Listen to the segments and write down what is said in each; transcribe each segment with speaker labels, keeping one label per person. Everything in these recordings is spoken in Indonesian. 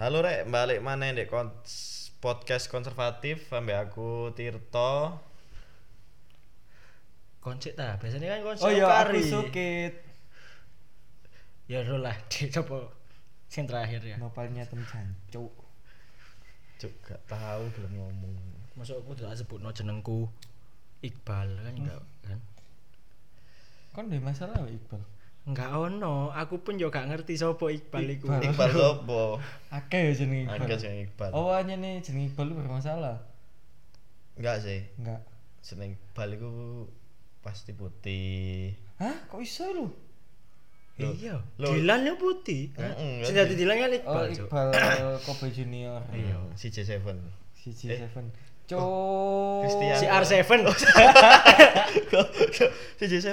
Speaker 1: Halo rek, balik mana dek kon podcast konservatif sampai aku Tirto.
Speaker 2: Koncik ta, biasanya kan koncik
Speaker 3: Oh iya, aku
Speaker 2: kari.
Speaker 3: sukit.
Speaker 2: Ya ro lah, dicoba sing terakhir ya.
Speaker 3: Nopalnya tem jancuk.
Speaker 1: Cuk gak tahu belum ngomong.
Speaker 2: Masuk aku udah sebutno jenengku Iqbal kan enggak kan?
Speaker 3: Kon ada masalah sama Iqbal?
Speaker 2: Enggak ono, aku pun juga gak ngerti sopo Iqbal iku.
Speaker 3: Iqbal.
Speaker 1: Iqbal sopo?
Speaker 3: Akeh ya jeneng Iqbal.
Speaker 1: Angkat sing Iqbal.
Speaker 3: Oh, hanya nih jeneng Iqbal lu bermasalah.
Speaker 1: Enggak sih.
Speaker 3: Enggak.
Speaker 1: Seneng Iqbal iku pasti putih.
Speaker 3: Hah, kok iso lu?
Speaker 2: Iya,
Speaker 1: Loh.
Speaker 2: Eh, Dilan yang putih.
Speaker 1: Heeh,
Speaker 2: Sing
Speaker 1: ngerti.
Speaker 2: dadi Dilan kan
Speaker 3: Oh,
Speaker 2: Iqbal, Cuk.
Speaker 3: Iqbal Kobe Junior.
Speaker 1: Iya, si J7.
Speaker 3: CJ7. Cuk. Oh.
Speaker 1: Christian.
Speaker 2: Si R7.
Speaker 1: si J7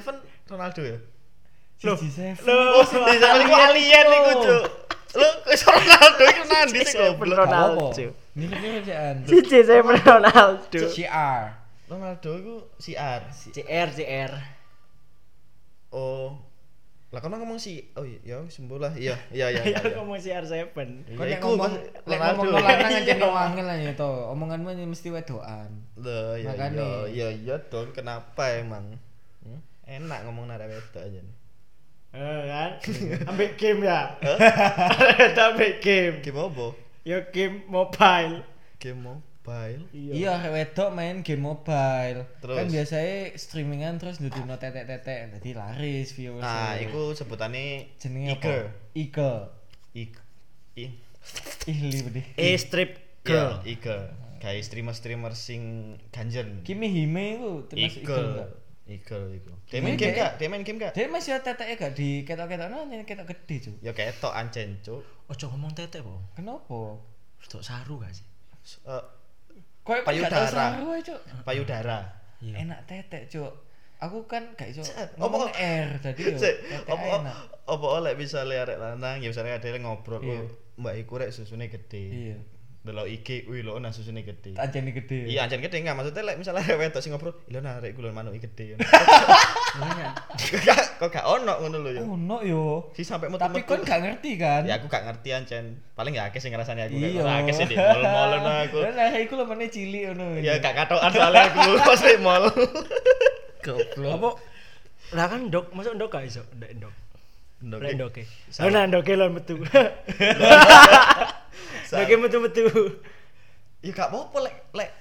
Speaker 1: Ronaldo ya?
Speaker 3: CJ7.
Speaker 1: Oh, si J7 iku alien iku, Cuk. Lu kok iso Ronaldo iku nandi sih goblok.
Speaker 2: Ronaldo.
Speaker 3: Mirip-mirip sian.
Speaker 2: Si J7 Ronaldo.
Speaker 3: CR.
Speaker 1: Ronaldo iku CR.
Speaker 2: CR CR.
Speaker 1: Oh. Lah kan ngomong si Oh iya, ya sembuh lah. Iya, iya iya.
Speaker 2: Ya
Speaker 1: iya,
Speaker 2: aku
Speaker 1: iya.
Speaker 2: mau CR7.
Speaker 3: Kok
Speaker 1: Ya,
Speaker 3: nek
Speaker 1: iku
Speaker 3: ngomong
Speaker 1: kan
Speaker 3: nek
Speaker 1: Ronaldo.
Speaker 3: ngomong lanang aja
Speaker 2: Iya.
Speaker 3: ngomongin lah ya to. Omonganmu ini mesti wedokan.
Speaker 1: Loh, ya
Speaker 3: Makanya.
Speaker 1: iya, iya iya dong, kenapa emang? Hmm? Enak ngomong narek wedok aja. nih.
Speaker 2: Eh kan? Ambek game ya. Ambek game.
Speaker 1: Game opo?
Speaker 2: Ya game mobile.
Speaker 1: Game mobile.
Speaker 3: Iya, arek wedok main game mobile.
Speaker 1: Terus?
Speaker 3: Kan biasanya streamingan terus ndudino tetek-tetek, dadi laris viewers.
Speaker 1: Ah, iku sebutane
Speaker 3: jenenge apa?
Speaker 1: Eager.
Speaker 3: Ike.
Speaker 1: Ig- i-
Speaker 3: Ih, libe.
Speaker 2: E
Speaker 1: Iya,
Speaker 2: strip girl.
Speaker 1: Eager. Kayak streamer-streamer sing ganjen.
Speaker 3: Kimi Hime itu termasuk Ike
Speaker 1: Eagle.
Speaker 3: enggak?
Speaker 1: Eagle iku. Dia
Speaker 3: Ini
Speaker 1: main game
Speaker 3: dia-
Speaker 1: gak? Dia main game gak?
Speaker 3: Dia masih ada teteknya gak di ketok-ketok no, ini ketok gede cuy.
Speaker 1: Ya ketok ancen, Cuk.
Speaker 2: Ojo ngomong tete po.
Speaker 3: Kenapa?
Speaker 2: Untuk saru gak sih?
Speaker 1: S- eh,
Speaker 3: Kok
Speaker 1: Payudara.
Speaker 3: cuy.
Speaker 1: Payudara.
Speaker 3: Enak tetek cuy. Aku kan gak iso
Speaker 1: Cet, apa-
Speaker 3: ngomong R tadi yo.
Speaker 1: Cek,
Speaker 3: Tetek
Speaker 1: Apa
Speaker 3: enak.
Speaker 1: apa oleh bisa lihat arek lanang ya misalnya ada yang ngobrol
Speaker 3: Iya.
Speaker 1: "Oh, Mbak Iku rek susune gede.
Speaker 3: Iya.
Speaker 1: Delok IG wih lo nah susune gede.
Speaker 3: Anjani gede.
Speaker 1: Iya anjir gede enggak maksudnya lek misalnya arek wedok sing ngobrol lho nah arek kulo manuk gede. Kok gak- Kok gak ono ngono lho ya.
Speaker 3: Oh, no yo.
Speaker 1: Si sampai metu
Speaker 3: Tapi kon gak ngerti kan?
Speaker 1: Ya aku gak ngerti ancen. Paling ya akeh sing ngrasani aku.
Speaker 3: Iya.
Speaker 1: Ora akeh sing di mall-mall ngono aku.
Speaker 3: Dan akhirnya aku lemane cilik ngono.
Speaker 1: Ya gak katokan soalnya aku pas di mall.
Speaker 2: Apa? Lah kan ndok, masuk ndok gak iso? Ndek ndok.
Speaker 1: Ndok.
Speaker 2: Ndok ndoke. Oh nah ndoke lho metu. Ndoke metu-metu.
Speaker 1: Ya gak apa-apa lek lek.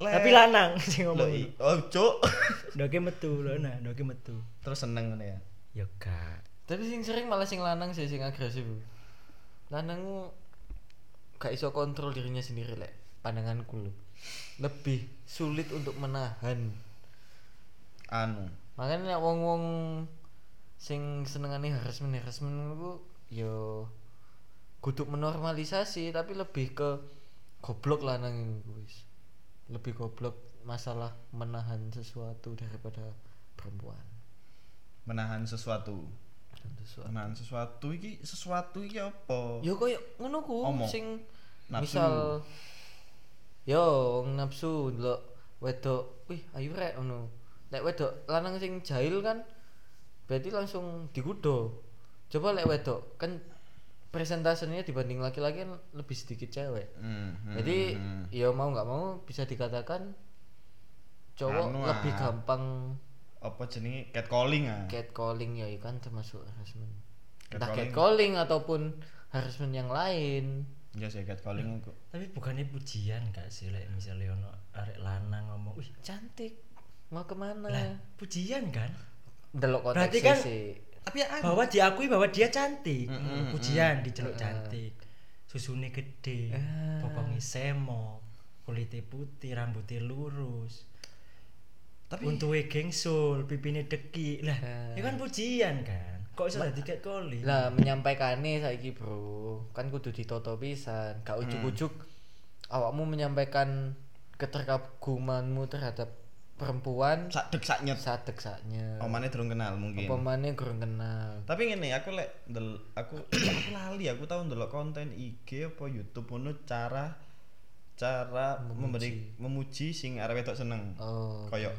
Speaker 1: lek-
Speaker 2: Tapi lanang sing
Speaker 1: Lho,
Speaker 2: ngomong.
Speaker 1: i- Oh, cuk.
Speaker 2: Ndoke metu lho nah, ndoke metu.
Speaker 1: Terus seneng ngono ya.
Speaker 2: Ya gak.
Speaker 3: Tapi sing sering malah sing lanang sih sing agresif. Lanang ku gak iso kontrol dirinya sendiri lek pandanganku lho. Lebih sulit untuk menahan.
Speaker 1: Anu.
Speaker 3: Makanya nek wong-wong sing senengane harassment harassment ku yo kudu menormalisasi tapi lebih ke goblok lanang ini guys. Lebih goblok masalah menahan sesuatu daripada perempuan.
Speaker 1: menahan sesuatu
Speaker 3: Dan sesuatu.
Speaker 1: menahan sesuatu iki sesuatu iki apa
Speaker 3: Yo koyo Ya, ngono ku
Speaker 1: Omong.
Speaker 3: sing
Speaker 1: Nafsu.
Speaker 3: misal yo wong nafsu ndelok wedok, wih ayu rek ngono. Lek wedok lanang sing jahil kan berarti langsung digodo. Coba lek wedok kan presentasenya dibanding laki-laki kan lebih sedikit cewek.
Speaker 1: Hmm, hmm,
Speaker 3: Jadi
Speaker 1: hmm.
Speaker 3: ya mau nggak mau bisa dikatakan cowok
Speaker 1: Anu,
Speaker 3: lebih
Speaker 1: ah.
Speaker 3: gampang
Speaker 1: apa jenenge catcalling ah
Speaker 3: catcalling ya kan termasuk harassment. Entah
Speaker 1: Catcalling.
Speaker 3: catcalling ataupun harassment yang lain.
Speaker 1: iya sih catcalling kok
Speaker 2: Tapi bukannya pujian gak sih lek misalnya ono arek lanang ngomong, "Wih,
Speaker 3: cantik mau kemana
Speaker 2: lah pujian kan?"
Speaker 3: delok
Speaker 2: Berarti
Speaker 3: konteksnya
Speaker 2: kan
Speaker 3: sih
Speaker 1: tapi ya
Speaker 2: bahwa diakui bahwa dia cantik Hmm,
Speaker 1: Mm, mm, mm.
Speaker 2: pujian diceluk cantik susunya gede bokongnya semo kulitnya putih rambutnya lurus
Speaker 1: tapi
Speaker 2: untungnya gengsul pipinya deki lah
Speaker 3: Ah.
Speaker 2: itu kan pujian kan kok bisa dadi cat calling
Speaker 3: lah menyampaikannya saiki bro kan kudu ditoto pisan gak ujuk-ujuk awakmu menyampaikan keterkagumanmu terhadap perempuan
Speaker 1: sak dek sak nyet
Speaker 3: sadek saknya
Speaker 1: omane durung kenal Oh, mungkin
Speaker 3: pemane kurang kenal
Speaker 1: tapi ngene aku lek del aku aku lali aku tau ndelok konten IG apa YouTube ngono cara cara memberi memuji sing arek wedok seneng
Speaker 3: oh
Speaker 1: koyo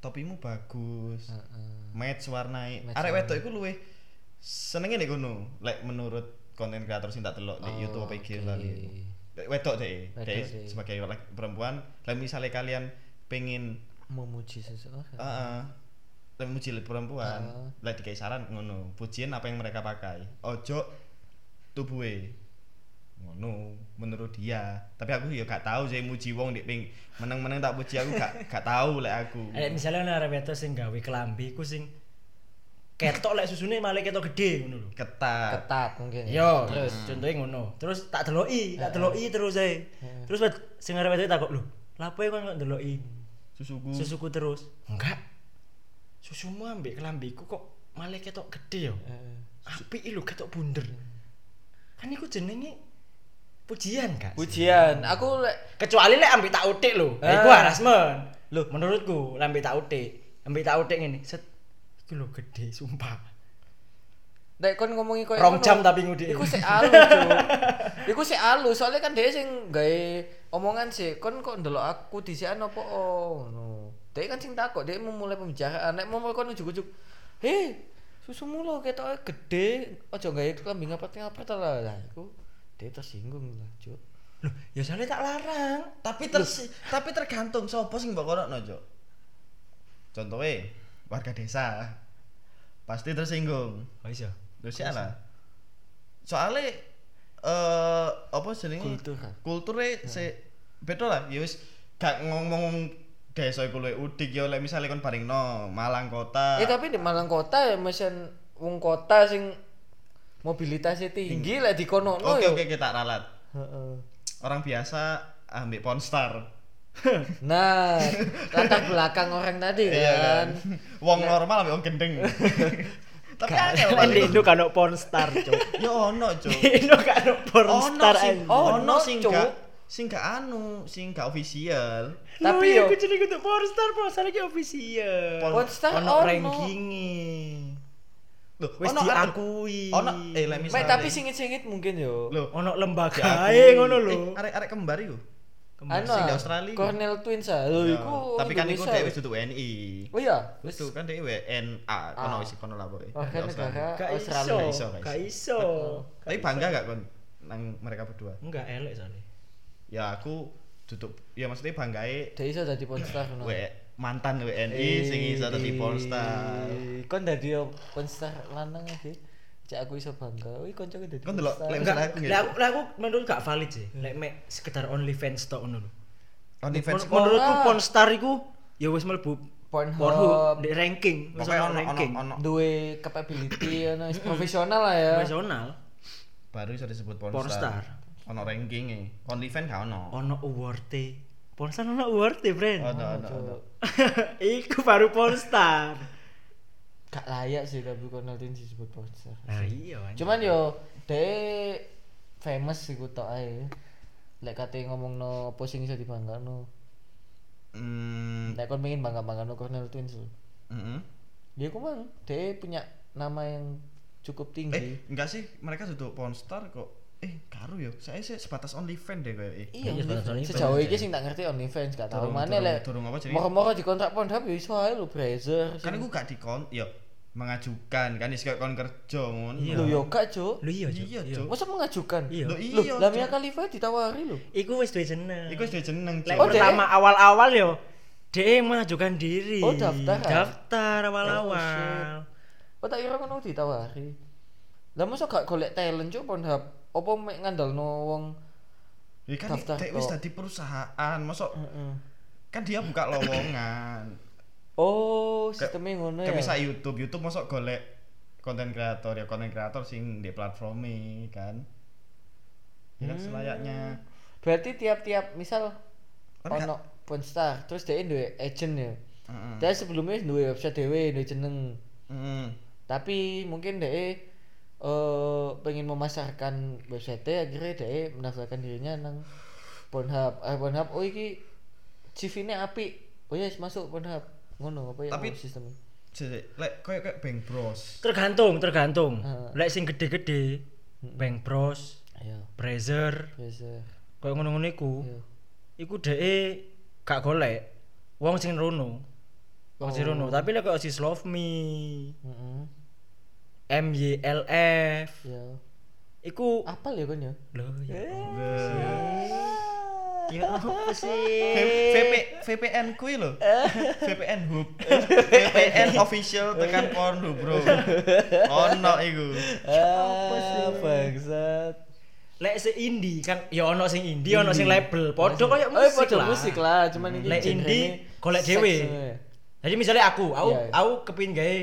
Speaker 1: topimu bagus
Speaker 3: heeh.
Speaker 1: match warnai
Speaker 3: Match
Speaker 1: arek wedok iku luwih senenge nek ngono lek menurut konten kreator sing tak delok di
Speaker 3: Oh,
Speaker 1: YouTube apa IG
Speaker 3: oke.
Speaker 1: lali. Dek- Wedok deh,
Speaker 3: Wedok
Speaker 1: deh
Speaker 3: deh.
Speaker 1: sebagai laki- perempuan. Lah misalnya kalian pengen
Speaker 3: memuji seseorang
Speaker 1: Heeh. Tapi muji perempuan,
Speaker 3: Heeh.
Speaker 1: lah dikai saran ngono. Pujian apa yang mereka pakai. Ojo tubuhe. Ngono menurut dia. Tapi aku ya gak tahu sih muji wong nek ping meneng-meneng tak puji aku gak gak tahu lek aku.
Speaker 2: Eh, misalnya ana arep wedok sing gawe kelambi ku sing ketok lek susune malah ketok gede ngono lho.
Speaker 1: Ketat.
Speaker 3: ketat mungkin
Speaker 2: Yo, terus contohnya ngono. Terus tak deloki, tak deloki terus ae. Terus wed- sing arep wedok takok, "Lho, lapo e kon kok deloki
Speaker 1: Susuku.
Speaker 2: susuku terus?" Enggak. Susumu ambek kelambiku kok malah ketok gede yo.
Speaker 3: Heeh.
Speaker 2: Apik lho ketok bunder. Kan iku jenenge pujian, Kak.
Speaker 3: pujian aku lek
Speaker 2: kecuali lek ambek tak utik lho. Lah iku
Speaker 3: Ah.
Speaker 2: harassment. Lho, menurutku lek ambek tak utik, ambek tak utik ngene, set iku lho gede sumpah.
Speaker 3: lek kon ngomongi koyo
Speaker 2: Rong
Speaker 3: ngono,
Speaker 2: jam tapi ngudi.
Speaker 3: iku sik alus Cuk. iku sik alus soalnya kan dia sing gawe omongan sih kon kok ndelok aku disian apa oh ngono dia kan sing takok dia memulai pembicaraan lek mau kon ujug-ujug hei susumu lo ketoke gede ojo gawe kambing ngapet-ngapet lah lah iku dia tersinggung lah cuk
Speaker 2: Loh, ya soalnya tak larang.
Speaker 1: Tapi ter tapi tergantung sapa sing mbok korokno, Cuk. Contohe warga desa pasti tersinggung.
Speaker 2: Oh iso.
Speaker 1: Terus ya lah. Soale eh apa jenenge?
Speaker 3: Kultur. Hmm.
Speaker 1: Kulture se beda lah. Ya wis gak ngomong desa iku luwih udik ya lek misale kon paringno Malang kota.
Speaker 3: Eh tapi di Malang kota ya mesen wong kota sing mobilitasnya tinggi lah di kono
Speaker 1: Oke oke kita ralat.
Speaker 3: Heeh.
Speaker 1: Orang biasa ambek Ponstar.
Speaker 3: Nah, latar belakang orang tadi
Speaker 1: Iya kan.
Speaker 3: kan.
Speaker 1: Wong normal ambek wong gendeng. Tapi angel
Speaker 2: Di
Speaker 1: paling.
Speaker 2: Indo kan ono pornstar, Cuk.
Speaker 1: Ya ono, Cuk.
Speaker 2: Di Indo kan ono
Speaker 1: Ono
Speaker 2: pornstar.
Speaker 1: sing
Speaker 2: anjing.
Speaker 1: ono
Speaker 3: Ono,
Speaker 1: sing
Speaker 3: Cuk.
Speaker 1: gak sing gak anu, sing gak official.
Speaker 2: Loh,
Speaker 3: Tapi
Speaker 2: iya,
Speaker 3: yo-
Speaker 2: aku jadi kudu pornstar, Bro. Saiki official.
Speaker 3: Pornstar
Speaker 2: ono
Speaker 3: ono.
Speaker 2: rankinge.
Speaker 1: Loh,
Speaker 2: Wis
Speaker 1: ono anu.
Speaker 2: diakui.
Speaker 1: Ono eh lek
Speaker 3: Mek
Speaker 1: misale.
Speaker 3: tapi singit-singit mungkin yo.
Speaker 1: Loh,
Speaker 2: ono
Speaker 1: Diakui.
Speaker 2: lembaga ae ngono lho.
Speaker 1: Eh, arek-arek kembar iku.
Speaker 3: Anu,
Speaker 1: sing di Australia iku.
Speaker 3: Cornell Twins ah. Lho
Speaker 1: Ya,
Speaker 3: iku.
Speaker 1: Tapi kan iku
Speaker 3: Indonesia.
Speaker 1: dhewe wis duduk WNI.
Speaker 3: Oh iya, wis.
Speaker 1: Itu kan dhewe WNA, kono wis kono lah pokoke.
Speaker 3: Warga
Speaker 1: Di Australia.
Speaker 3: negara
Speaker 2: Gak iso.
Speaker 3: Australia.
Speaker 1: Gak iso, gak
Speaker 2: Gak iso.
Speaker 1: Tapi bangga gak kon nang mereka berdua?
Speaker 2: Enggak elek soalnya.
Speaker 1: Ya aku duduk ya maksudnya banggae
Speaker 3: Dia iso dadi pornstar ngono. Eh,
Speaker 1: W mantan WNI sing iso dadi pornstar.
Speaker 3: Kon dadi pornstar lanang aja. Cek aku iso bangga. Wih, koncoku dadi.
Speaker 1: Kon Kan delok
Speaker 3: pornstar.
Speaker 1: lek
Speaker 2: Enggak,
Speaker 1: misalnya aku
Speaker 2: lah
Speaker 1: ya.
Speaker 2: aku, lah aku menurut gak valid sih. Lek mek sekedar only fans tok ngono lho.
Speaker 1: OnlyFans
Speaker 2: Men-
Speaker 1: kok
Speaker 2: menurutku
Speaker 3: Ora.
Speaker 2: pornstar iku ya wis mlebu
Speaker 3: Pornhub.
Speaker 2: Pornhub di ranking, wis
Speaker 1: pokoknya
Speaker 2: ono
Speaker 1: ono ono
Speaker 2: ranking.
Speaker 1: ono
Speaker 3: duwe capability ono is profesional lah ya.
Speaker 2: Nasional
Speaker 1: baru iso disebut
Speaker 2: Pornstar.
Speaker 1: pornstar. Ono e. rankinge. OnlyFans gak ono.
Speaker 2: ono award Pornstar ono award friend.
Speaker 1: Ono ono. ono.
Speaker 2: Iku baru pornstar.
Speaker 3: Gak layak sih tapi Cornell Twins disebut pornstar.
Speaker 2: Nah iya. anjing.
Speaker 3: Cuman yo de famous sih gue tau ae. Lek kate ngomong no posing iso dibanggakno.
Speaker 1: Hmm.
Speaker 3: Lek kon pengen bangga-banggakno Cornell Twins lho.
Speaker 1: mm-mm.
Speaker 3: Ya ku mang de punya nama yang cukup tinggi.
Speaker 1: Eh, enggak sih, mereka duduk Pornstar kok. Eh, karu ya. Saya sih sebatas OnlyFans deh kayak. eh.
Speaker 3: Iya,
Speaker 2: Iya,
Speaker 3: OnlyFans.
Speaker 2: sebenarnya
Speaker 3: sejauh
Speaker 2: OnlyFans,
Speaker 3: ini sih tak ngerti OnlyFans gak tau
Speaker 1: Turun-
Speaker 3: mana
Speaker 1: turun-
Speaker 3: lek
Speaker 1: turun apa jenenge?
Speaker 3: moro-moro dikontrak Pornhub ya iso ae lho browser
Speaker 1: Kan aku gak dikon, yo mengajukan kan iso kon kerja ngono.
Speaker 2: Iya.
Speaker 3: lu yo gak cuk
Speaker 2: Lu iya, Cuk.
Speaker 1: Iya,
Speaker 2: Iya.
Speaker 1: Cuk.
Speaker 3: masa mengajukan
Speaker 2: Iya.
Speaker 1: Loh,
Speaker 3: Loh,
Speaker 1: iya.
Speaker 3: lah Mia Khalifa ditawari lho
Speaker 2: Iku wis duwe jeneng.
Speaker 1: Iku sudah jeneng.
Speaker 2: Lek
Speaker 1: Cuk.
Speaker 3: Oh, dek.
Speaker 2: pertama awal-awal yo dhek mengajukan diri.
Speaker 3: Oh, daftar.
Speaker 2: Daftar
Speaker 3: Oh,
Speaker 2: awal-awal.
Speaker 3: Oh tak kira kono ditawari. Lah mosok gak golek talent cuk Pornhub. Apa mek ngandalno wong
Speaker 1: Ya kan
Speaker 3: Daftar
Speaker 1: dek wis
Speaker 3: kok.
Speaker 1: dadi perusahaan, mosok kan dia buka lowongan.
Speaker 3: Oh, sistemnya ngono
Speaker 2: Iya.
Speaker 3: ya.
Speaker 1: Kayak bisa YouTube, YouTube mosok golek konten kreator ya konten kreator sing di platforme kan. Ya kan
Speaker 2: Hmm.
Speaker 1: selayaknya.
Speaker 3: Berarti tiap-tiap misal
Speaker 1: Tapi gak- Hmm.
Speaker 3: ono Pornstar terus dia duwe agent ya.
Speaker 1: Heeh.
Speaker 3: Dia sebelumnya duwe website dhewe, duwe jeneng.
Speaker 1: Heeh.
Speaker 3: Tapi mungkin dia eh pengen memasarkan website e, akhirnya dia mendaftarkan dirinya nang Pornhub. Eh Pornhub oh iki CV-ne apik. Oh yes, masuk Pornhub. Ngono apa ya
Speaker 1: Tapi-
Speaker 3: sistemnya?
Speaker 1: Jadi, Lek kayak kayak Bang Bros.
Speaker 2: Tergantung, tergantung.
Speaker 3: Heeh.
Speaker 2: Lek sing gede-gede,
Speaker 3: Hmm.
Speaker 2: Bank Bros,
Speaker 3: Ayo.
Speaker 2: Brazzer,
Speaker 3: Biasa.
Speaker 2: koyo ngono-ngono iku.
Speaker 3: Iya.
Speaker 2: Iku dhek gak golek wong sing rono. Wong sing rono,
Speaker 3: Oh.
Speaker 2: tapi lek koyo sis love me,
Speaker 3: Heeh.
Speaker 2: MYLF,
Speaker 3: Ya.
Speaker 2: Iku
Speaker 3: Apal ya kan ya?
Speaker 2: lho ya.
Speaker 3: Eh.
Speaker 2: Allah. Iya.
Speaker 3: Ya apa
Speaker 1: V-
Speaker 3: sih?
Speaker 1: VP, VPN kui lo VPN hub VPN official tekan Pornhub bro ono iku
Speaker 2: Ah,
Speaker 3: Apa sih? Eh, Bangsat.
Speaker 2: Lek se indie kan ya ono sing indie, ono sing label. Podo koyo
Speaker 3: Eh,
Speaker 2: musik
Speaker 3: podo
Speaker 2: lah. Hmm.
Speaker 3: musik lah, cuman ini
Speaker 2: Lek
Speaker 3: genrenya
Speaker 2: indie golek
Speaker 3: seks
Speaker 2: dhewe.
Speaker 3: sebenarnya.
Speaker 2: Jadi misalnya aku, aku
Speaker 3: Iya, iya.
Speaker 2: aku kepin gawe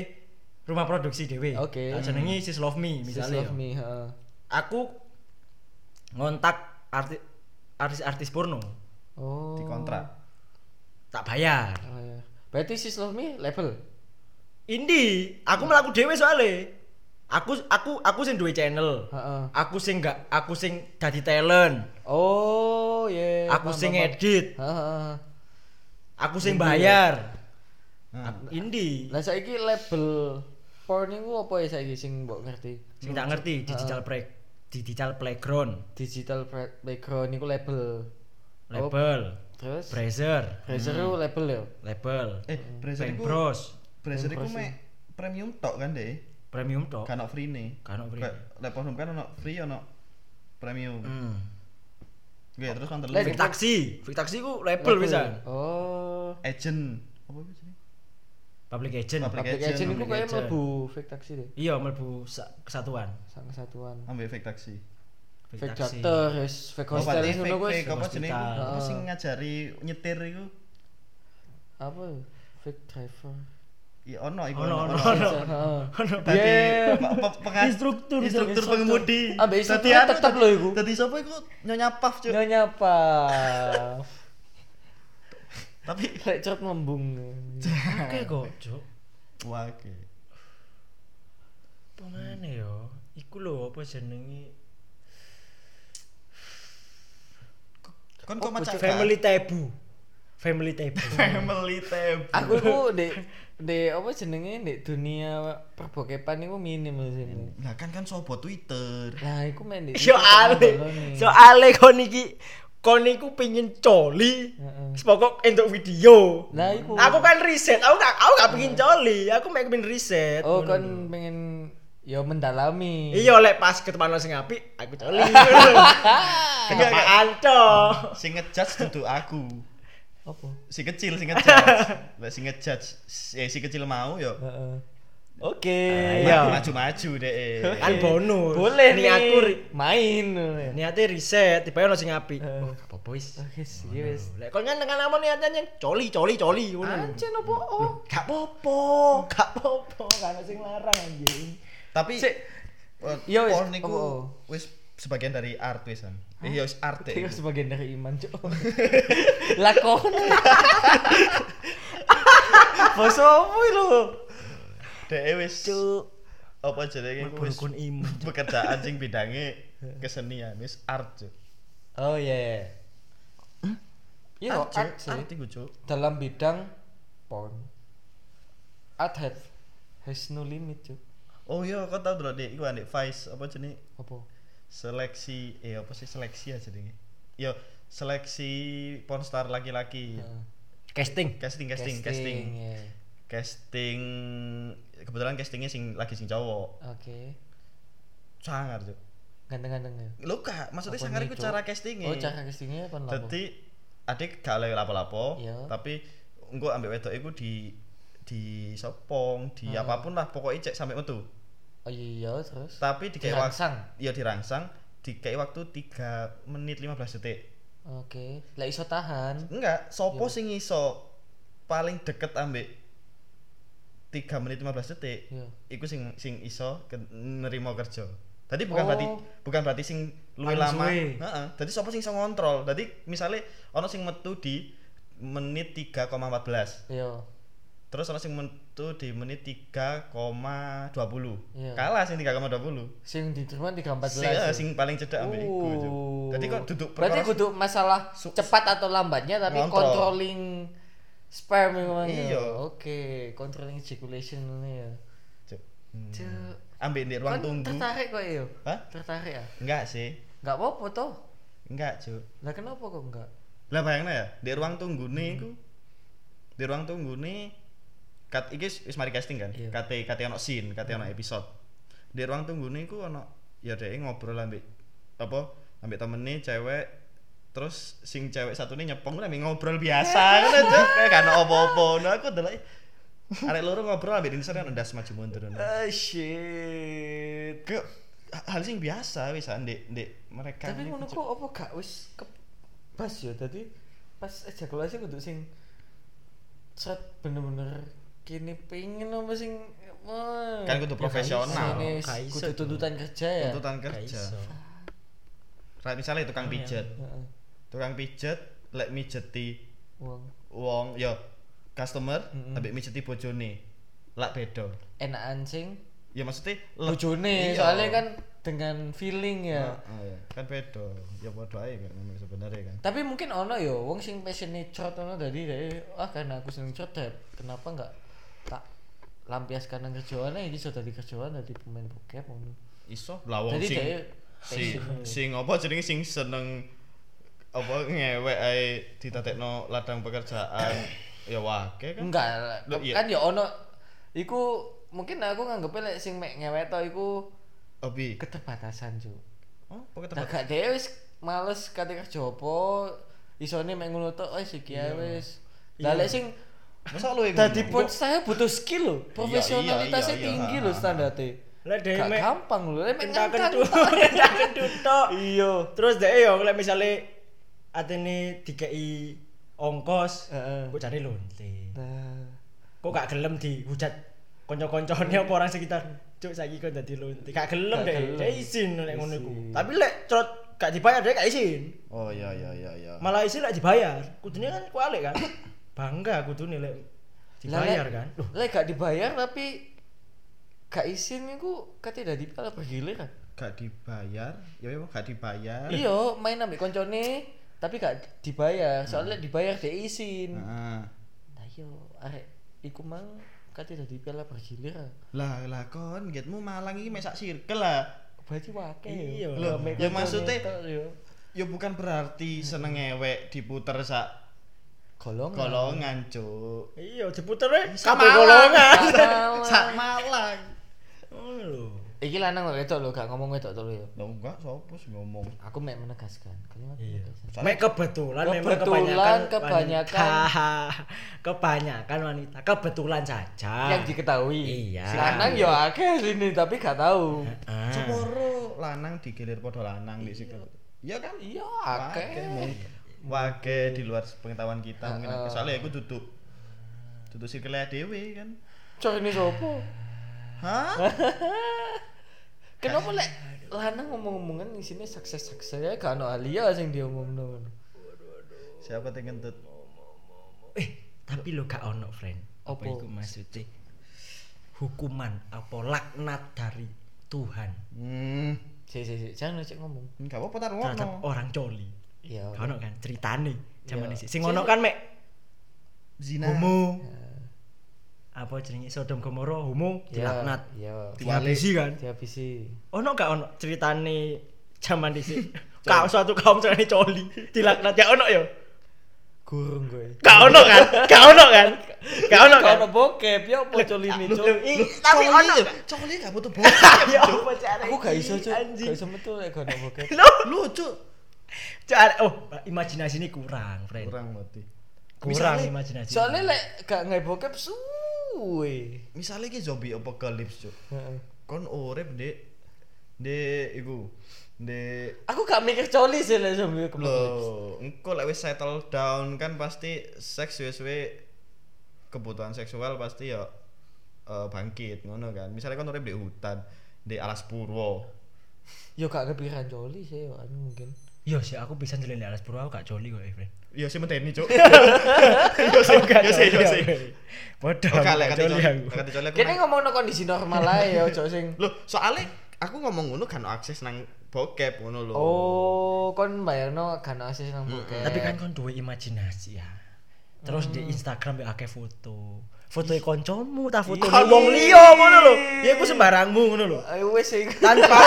Speaker 2: rumah produksi dhewe.
Speaker 3: Oke.
Speaker 2: Tak jenengi Sis Love Me misalnya. ya.
Speaker 3: Misalnya love me, heeh.
Speaker 2: Aku ngontak arti, artis-artis porno,
Speaker 3: Oh.
Speaker 1: di kontrak
Speaker 2: tak bayar.
Speaker 3: Oh, iya. Berarti sis love me level.
Speaker 2: Indi, aku melaku dhewe soalnya. Aku aku aku sing duwe channel.
Speaker 3: Heeh.
Speaker 2: Aku sing gak aku sing dadi talent.
Speaker 3: Oh, ya.
Speaker 2: Aku sing edit,
Speaker 3: Heeh.
Speaker 2: aku sing bayar.
Speaker 1: Nah.
Speaker 2: Aku- Indi.
Speaker 3: Lah saiki label porn niku apa ya saiki sing mbok ngerti?
Speaker 2: Sing tak ngerti digital play digital playground,
Speaker 3: Digital pra- background niku label.
Speaker 1: Oh.
Speaker 2: label,
Speaker 3: Terus
Speaker 2: browser,
Speaker 3: Pressure itu label ya?
Speaker 2: label,
Speaker 1: eh browser
Speaker 2: Bank
Speaker 1: iku
Speaker 2: Bros,
Speaker 1: browser iku mek premium tok kan deh
Speaker 2: premium tok.
Speaker 1: kan free nih
Speaker 2: Gak ono free.
Speaker 1: lek Pornhub kan ono free ono premium
Speaker 2: Hmm. Oh.
Speaker 1: Oke, terus kan
Speaker 3: Lek-
Speaker 1: terlalu
Speaker 2: Fik taksi, Fik taksi ku label bisa.
Speaker 3: Oh.
Speaker 1: agent apa itu sih
Speaker 2: Public agent.
Speaker 1: Public
Speaker 3: Public
Speaker 1: Agent,
Speaker 3: agent itu
Speaker 1: public
Speaker 3: kayak
Speaker 2: agent.
Speaker 3: mlebu fake taxi deh.
Speaker 2: Iya, mlebu sa- kesatuan.
Speaker 3: Sang kesatuan.
Speaker 1: ambil fake taksi
Speaker 3: Fake
Speaker 2: taksi.
Speaker 3: doctor, wis fake
Speaker 1: Oh,
Speaker 3: hostel
Speaker 1: berarti
Speaker 3: ngono
Speaker 1: fake
Speaker 3: kuwi.
Speaker 1: fake apa jenenge iku?
Speaker 2: hospital.
Speaker 1: apa sih
Speaker 3: Oh.
Speaker 1: ngajari nyetir iku
Speaker 3: Apa? ya? Fake driver.
Speaker 1: ya ono iku
Speaker 2: Ono, ono,
Speaker 1: ono.
Speaker 2: ono.
Speaker 3: Heeh.
Speaker 2: Ono.
Speaker 1: Tadi
Speaker 3: Yeah.
Speaker 1: pe- pe- pengas-
Speaker 2: Instruktur,
Speaker 1: instruktur
Speaker 2: instruktur.
Speaker 1: pengemudi.
Speaker 3: Ambek
Speaker 1: Tadi
Speaker 3: instruktur
Speaker 1: anu,
Speaker 3: tetep
Speaker 1: tadi-
Speaker 3: lho iku.
Speaker 1: Tadi sapa iku nyonya paf cuk.
Speaker 3: Nyonya apa?
Speaker 1: Tapi
Speaker 3: Lek cerut ngembung.
Speaker 2: Oke kok, Cuk.
Speaker 1: wah oke.
Speaker 2: Apa mana yo? Iku lho apa jenenge?
Speaker 1: Kon
Speaker 3: Oh,
Speaker 1: kok macam
Speaker 2: Family Taboo. Family Taboo.
Speaker 1: family tab.
Speaker 3: Aku ku di di apa jenenge di dunia perbokepan niku minimal sini.
Speaker 1: Lah kan kan sobo Twitter.
Speaker 3: Lah iku main di
Speaker 2: soale soale kon iki kon iku pengin coli
Speaker 3: Heeh.
Speaker 2: sepokok entuk video
Speaker 3: Lah iku.
Speaker 2: aku kan riset aku gak aku gak pengin coli aku mek pengin riset ngono lho.
Speaker 3: Oh kan pengen ya mendalami.
Speaker 2: iya lek pas ketemu sing apik aku coli kenapa anto
Speaker 1: Sing ngejudge duduk aku.
Speaker 3: Apa?
Speaker 1: Si kecil sing ngejudge. Lah sing ngejudge eh si kecil mau yo.
Speaker 3: Heeh. Oke.
Speaker 1: Ah,
Speaker 2: Iya.
Speaker 1: Maju-maju deh. Eh,
Speaker 2: kan bonus
Speaker 3: Eh, Boleh nih
Speaker 2: niatku
Speaker 3: aku
Speaker 2: ri-
Speaker 3: main.
Speaker 2: niate riset tiba ono sing apik
Speaker 3: Heeh.
Speaker 2: oh gak apa-apa wis
Speaker 3: Oke, sih, wis.
Speaker 2: lek kon kan tekan apa niatnya yang coli coli coli ngono lho.
Speaker 3: Anjen opo? oh?
Speaker 2: gak apa-apa gak apa-apa gak ono sing larang anjing
Speaker 1: Tapi
Speaker 3: Sik.
Speaker 1: eh,
Speaker 3: Iya, wis.
Speaker 1: porn iku
Speaker 3: Oh, oh.
Speaker 1: wis sebagian dari art wisan. Iya wis art. ya
Speaker 3: Itu
Speaker 1: iku.
Speaker 3: sebagian dari iman, Cok. Lakon. Boso opo lho?
Speaker 1: Dek eh, wis
Speaker 3: Cuk.
Speaker 1: apa
Speaker 2: Eh,
Speaker 1: jenenge iku wis
Speaker 2: Berkun iman
Speaker 1: pekerjaan sing bidangnya kesenian wis art cuk.
Speaker 3: Oh iya. Iya,
Speaker 1: Art, Cuk.
Speaker 3: art sih.
Speaker 1: Art iku cuk.
Speaker 3: Dalam bidang porn. Art has, has no limit, Cuk.
Speaker 1: Oh iya kau tau dulu dek iku Dek, Vice apa jenenge
Speaker 3: Apa?
Speaker 1: seleksi eh apa sih seleksi aja jenenge. Yo seleksi pornstar laki-laki.
Speaker 3: Heeh.
Speaker 2: casting
Speaker 1: Casting, casting, casting, casting.
Speaker 3: ya.
Speaker 1: kebetulan castingnya sing lagi sing cowok.
Speaker 3: Oke.
Speaker 1: Sangar cuk.
Speaker 3: Ganteng-ganteng ya.
Speaker 1: Lho kak, maksudnya
Speaker 3: Apa
Speaker 1: sangar
Speaker 3: nih,
Speaker 1: iku
Speaker 3: Cuk?
Speaker 1: cara castingnya.
Speaker 3: Oh, cara castingnya kan lho.
Speaker 1: Dadi adik gak oleh lapo-lapo,
Speaker 3: Iya.
Speaker 1: tapi engko ambek wedok iku di di sopong, di
Speaker 3: Hmm.
Speaker 1: apapun lah pokoknya cek sampai metu.
Speaker 3: Oh iya, terus.
Speaker 1: Tapi dikei waktu
Speaker 3: Dirangsang.
Speaker 1: ya dirangsang, dikei waktu 3 menit 15 detik.
Speaker 3: Oke, lah iso tahan.
Speaker 1: Enggak, sopo
Speaker 3: Iya.
Speaker 1: sing iso paling deket ambek 3 menit 15 detik.
Speaker 3: Iya.
Speaker 1: Iku sing sing iso ke- nerimo kerja. Tadi bukan
Speaker 3: Oh.
Speaker 1: berarti bukan berarti sing luwih
Speaker 2: Paling
Speaker 1: lama.
Speaker 2: suwe.
Speaker 1: Heeh. Dadi sopo sing iso ngontrol. Dadi misale ono sing metu di menit 3,14.
Speaker 3: Iya.
Speaker 1: Terus ono sing metu di menit 3,20.
Speaker 3: Iya.
Speaker 1: Kalah sing 3,20.
Speaker 3: Sing diterima 314.
Speaker 1: Sing, eh, sing paling cedak ambek iku. Cuk. Dadi kok duduk
Speaker 3: Oh. Berarti
Speaker 1: perkara-
Speaker 3: kudu masalah
Speaker 1: Su-
Speaker 3: cepat atau lambatnya tapi
Speaker 1: Ngontrol.
Speaker 3: controlling sperm memang ya.
Speaker 1: Iya.
Speaker 3: Oke, controlling circulation ngono ya.
Speaker 1: Cuk. Hmm.
Speaker 3: Cuk.
Speaker 1: Ambek di ruang
Speaker 3: Kan
Speaker 1: tunggu.
Speaker 3: tertarik kok yo.
Speaker 1: Hah?
Speaker 3: Tertarik ya?
Speaker 1: Enggak sih.
Speaker 3: Enggak apa-apa toh.
Speaker 1: Enggak, Cuk.
Speaker 3: Lah kenapa kok enggak?
Speaker 1: Lah bayangna ya, di ruang tunggu
Speaker 3: Hmm.
Speaker 1: nih iku. Di ruang tunggu nih kat iki wis wis mari casting kan.
Speaker 3: Iya.
Speaker 1: Kate kate ono scene, kate ono episode. Di ruang tunggu nih iku ono ya dia ngobrol ambek apa ambek temennya cewek terus sing cewek satu ini nyepong lah ambek ngobrol biasa kan aja kayak kan opo-opo nah aku adalah arek loro ngobrol ambek Dinser kan ndas maju mundur
Speaker 2: Eh,
Speaker 1: nah.
Speaker 3: Ah, shit.
Speaker 1: Ke- hal sing biasa wis ndek ndek mereka
Speaker 3: Tapi
Speaker 1: ini
Speaker 3: ngono
Speaker 1: kucuk-
Speaker 3: kok apa gak wis kebas ya tadi pas ejakulasi kudu sing set bener-bener kini pengen apa sing wah.
Speaker 1: Kan kudu
Speaker 3: Ya,
Speaker 1: profesional.
Speaker 3: gak iso,
Speaker 2: Gak
Speaker 3: nis.
Speaker 2: iso,
Speaker 3: Kudu
Speaker 2: Cuk.
Speaker 3: tuntutan kerja ya.
Speaker 1: tuntutan
Speaker 2: Gak
Speaker 1: kerja
Speaker 2: iso.
Speaker 1: Ra- misalnya tukang
Speaker 2: Iya.
Speaker 1: pijet
Speaker 3: Heeh.
Speaker 1: tukang pijet lek mijeti
Speaker 3: Wong
Speaker 1: wong ya customer
Speaker 3: Mm-mm.
Speaker 1: ambek mijeti bojone lak beda
Speaker 3: enakan sing
Speaker 1: ya maksudnya le-
Speaker 3: bojone
Speaker 1: Iya.
Speaker 3: soalnya kan dengan feeling ya.
Speaker 1: Ah, ah, ya. kan beda ya padha ae kan memang sebenarnya kan
Speaker 3: Tapi mungkin ono yo wong sing passionate short ono tadi deh. Ah karena aku seneng short deh. Kenapa enggak tak lampiaskan nang kerjaan aja iso dadi kerjaan dadi pemain bokep ngono.
Speaker 1: iso lah wong
Speaker 3: Jadi
Speaker 1: Oh, sing sing
Speaker 3: dia passion.
Speaker 1: sing apa jenenge sing seneng apa ngewek ae ditatekno ladang pekerjaan ya wake kan
Speaker 3: Enggak lah.
Speaker 1: Loh, iya.
Speaker 3: kan ya ono iku mungkin aku nganggepnya lek sing mek ngewek to iku
Speaker 1: obi
Speaker 3: keterbatasan cu.
Speaker 1: oh pokoknya
Speaker 3: Nah
Speaker 1: tempat
Speaker 3: gak dhewe wis males kate kerja apa isone mek ngono tok wis iki ae wis. Lah lek sing
Speaker 1: masa lu yang
Speaker 3: dadi
Speaker 1: ngomong?
Speaker 3: pun saya butuh skill lho,
Speaker 1: iya,
Speaker 3: profesionalitasnya
Speaker 1: iya.
Speaker 3: tinggi
Speaker 1: Ha,
Speaker 3: lho
Speaker 1: ha, ha.
Speaker 3: standarte.
Speaker 2: Lah dhewe
Speaker 3: Gak
Speaker 2: mek
Speaker 3: gampang lho, lek mek
Speaker 2: Entah
Speaker 3: ngangkat
Speaker 2: kentut,
Speaker 3: tok.
Speaker 2: entah kentut tok.
Speaker 3: Iya.
Speaker 2: Terus deh yo lek misale atene dikei ongkos,
Speaker 3: Heeh.
Speaker 2: kok jane lonte.
Speaker 3: Nah,
Speaker 2: Kok gak gelem dihujat kanca-kancane apa orang sekitar. Cuk saiki kok dadi lonte. Gak gelem
Speaker 3: Gak
Speaker 2: deh,
Speaker 3: gelem.
Speaker 2: deh izin lek ngono iku.
Speaker 3: Izin.
Speaker 2: Tapi lek trot gak dibayar deh gak izin.
Speaker 1: oh ya ya ya ya
Speaker 2: Malah izin lek dibayar. Kudune kan kualik kan. Bangga kudune lek
Speaker 3: lah,
Speaker 2: dibayar
Speaker 3: lek-
Speaker 2: kan. Loh,
Speaker 3: Lek gak dibayar tapi gak izin iku kate dadi pala bergiliran.
Speaker 1: gak dibayar ya memang gak dibayar
Speaker 3: Iya, main ambek koncone tapi gak dibayar. Soalnya dibayar dia izin.
Speaker 1: nah,
Speaker 3: Nah, iya arek iku mang kate dadi piala ya. bergiliran.
Speaker 1: lah lah kon getmu malang iki mesak circle lah
Speaker 3: Berarti wake
Speaker 2: Iya.
Speaker 1: Loh,
Speaker 3: Mek
Speaker 1: ya
Speaker 3: koncone
Speaker 1: maksudnya-
Speaker 3: tok, yo.
Speaker 1: ya bukan berarti seneng ngewek diputer sak
Speaker 3: golongan.
Speaker 1: golongan cuk
Speaker 2: iya diputere
Speaker 1: Oh, Sak
Speaker 2: kabeh
Speaker 1: Malang,
Speaker 2: golongan.
Speaker 3: Sak Malang.
Speaker 1: sak malang
Speaker 2: Ngono Oh, lho.
Speaker 3: Iki lanang kok wedok lho, gak ngomong wedok to lho yo.
Speaker 1: lo enggak sopo sih ngomong
Speaker 3: Aku mek menegaskan. Kalimat
Speaker 2: Iya.
Speaker 3: menegaskan.
Speaker 2: Mek kebetulan memang
Speaker 3: Kebetulan,
Speaker 2: kebanyakan
Speaker 3: kebanyakan.
Speaker 2: wanita. kebanyakan wanita kebetulan saja.
Speaker 3: Yang diketahui.
Speaker 2: Ah. Iya.
Speaker 3: Si lanang yo akeh sini tapi gak tahu.
Speaker 2: Ah.
Speaker 1: Cemoro lanang digilir podo lanang di situ. Iya kan?
Speaker 3: Iya,
Speaker 1: Wake,
Speaker 3: akeh.
Speaker 1: mung- Wake di luar pengetahuan kita mungkin
Speaker 3: Heeh.
Speaker 1: akeh. soalnya aku duduk duduk circle dewe kan.
Speaker 3: Cor ini sopo?
Speaker 1: Hah?
Speaker 3: Kenapa lek lanang ngomong-ngomongan di sini sukses-sukses ya gak ono Alia sing diomongno.
Speaker 1: Siapa yang kentut?
Speaker 2: Eh, tapi lo gak ono friend.
Speaker 3: Apa?
Speaker 2: iku maksudnya? Hukuman apa laknat dari Tuhan
Speaker 1: Hmm,
Speaker 3: Si si si, jangan cek ngomong.
Speaker 1: enggak apa-apa taruh
Speaker 2: terhadap
Speaker 1: ngono.
Speaker 2: orang coli.
Speaker 3: Iya.
Speaker 2: Gak ono kan ceritane zaman
Speaker 3: Iya.
Speaker 2: sih. Sing ono kan mek
Speaker 1: Zina.
Speaker 2: homo. Apa jenenge Sodom Gomora homo
Speaker 3: Iya,
Speaker 2: dilaknat.
Speaker 3: Iya.
Speaker 2: Dihabisi kan?
Speaker 3: Dihabisi.
Speaker 2: ono gak ono ceritane zaman dhisik kau suatu kaum ceritane coli dilaknat ya ono ya
Speaker 3: Gurung gue.
Speaker 2: gak ono kan gak ono kan gak ono
Speaker 3: Gak
Speaker 2: kan
Speaker 3: ono bokep ya apa colime
Speaker 2: Loh,
Speaker 3: cok.
Speaker 2: ih, tapi
Speaker 1: iya?
Speaker 2: ono
Speaker 1: Coli enggak butuh bokep.
Speaker 2: ya apa cara
Speaker 3: Aku gak iso
Speaker 2: iki,
Speaker 3: cok.
Speaker 2: anjing
Speaker 3: Gak iso metu lek gak ono bokep.
Speaker 2: lo
Speaker 1: Lucu.
Speaker 2: cara oh imajinasi ini kurang friend
Speaker 1: Kurang mati.
Speaker 2: kurang
Speaker 1: Misalnya-
Speaker 2: imajinasi
Speaker 3: Soalnya lek gak ngai bokep suwe.
Speaker 1: Misalnya ki zombie apocalypse, Cuk.
Speaker 3: Heeh.
Speaker 1: Kon urip, Dek. Dek iku. Dek
Speaker 3: Aku gak mikir coli sih lek sampe kemarin.
Speaker 1: Loh, engko lek wis settle down kan pasti seks suwe-suwe kebutuhan seksual pasti ya eh, bangkit ngono kan. Misalnya kan urip di hutan, di alas purwo.
Speaker 3: Yo gak kepikiran coli sih yo anu mungkin.
Speaker 2: yo sih aku bisa jelasin alas purwa aku gak coli kok eh, friend
Speaker 1: Ya sih medeni, Cuk. Yo sih, yo sih, yo sih.
Speaker 2: bodoh
Speaker 1: Oke,
Speaker 2: aku
Speaker 1: lek
Speaker 2: gak
Speaker 1: kate
Speaker 2: coli aku
Speaker 1: kate coli aku.
Speaker 3: Kene ngomongno kondisi normal ae ya ojo sing
Speaker 1: Loh, soalnya aku ngomong ngono kan akses nang bokep ngono lho.
Speaker 3: Oh, kon bayarno gak ono asis nang bokep.
Speaker 2: tapi kan kon duwe imajinasi ya terus di Instagram ya akeh foto foto e koncomu ta foto
Speaker 1: Iya.
Speaker 2: wong liya ngono lho ya iku sembarangmu ngono lho
Speaker 3: ayo wis sing
Speaker 2: tanpa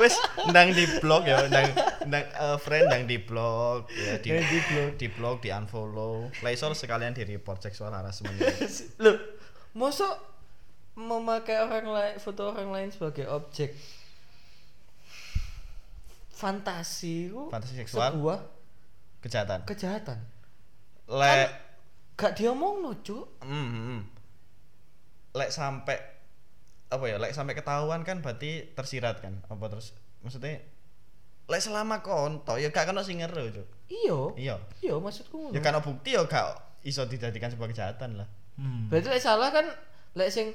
Speaker 1: Wes ndang di blog ya, ndang ndang eh, friend ndang di blog ya di
Speaker 3: Ndang di blog.
Speaker 1: di blog di unfollow. Lah iso sekalian di report seksual harassment.
Speaker 3: lho, mosok memakai orang lain foto orang lain sebagai objek fantasi ku
Speaker 1: Fantasi seksual?
Speaker 3: sebuah
Speaker 1: kejahatan
Speaker 3: kejahatan
Speaker 1: le
Speaker 3: gak diomong no cuk
Speaker 1: mm, mm. lek sampai apa ya lek sampai ketahuan kan berarti tersirat kan apa terus maksudnya lek selama konto ya gak kena sing ngeru Cuk.
Speaker 3: iyo
Speaker 1: iya
Speaker 3: iyo maksudku
Speaker 1: ya karena bukti ya gak iso dijadikan sebagai kejahatan lah
Speaker 2: Hmm.
Speaker 3: berarti lek salah kan lek sing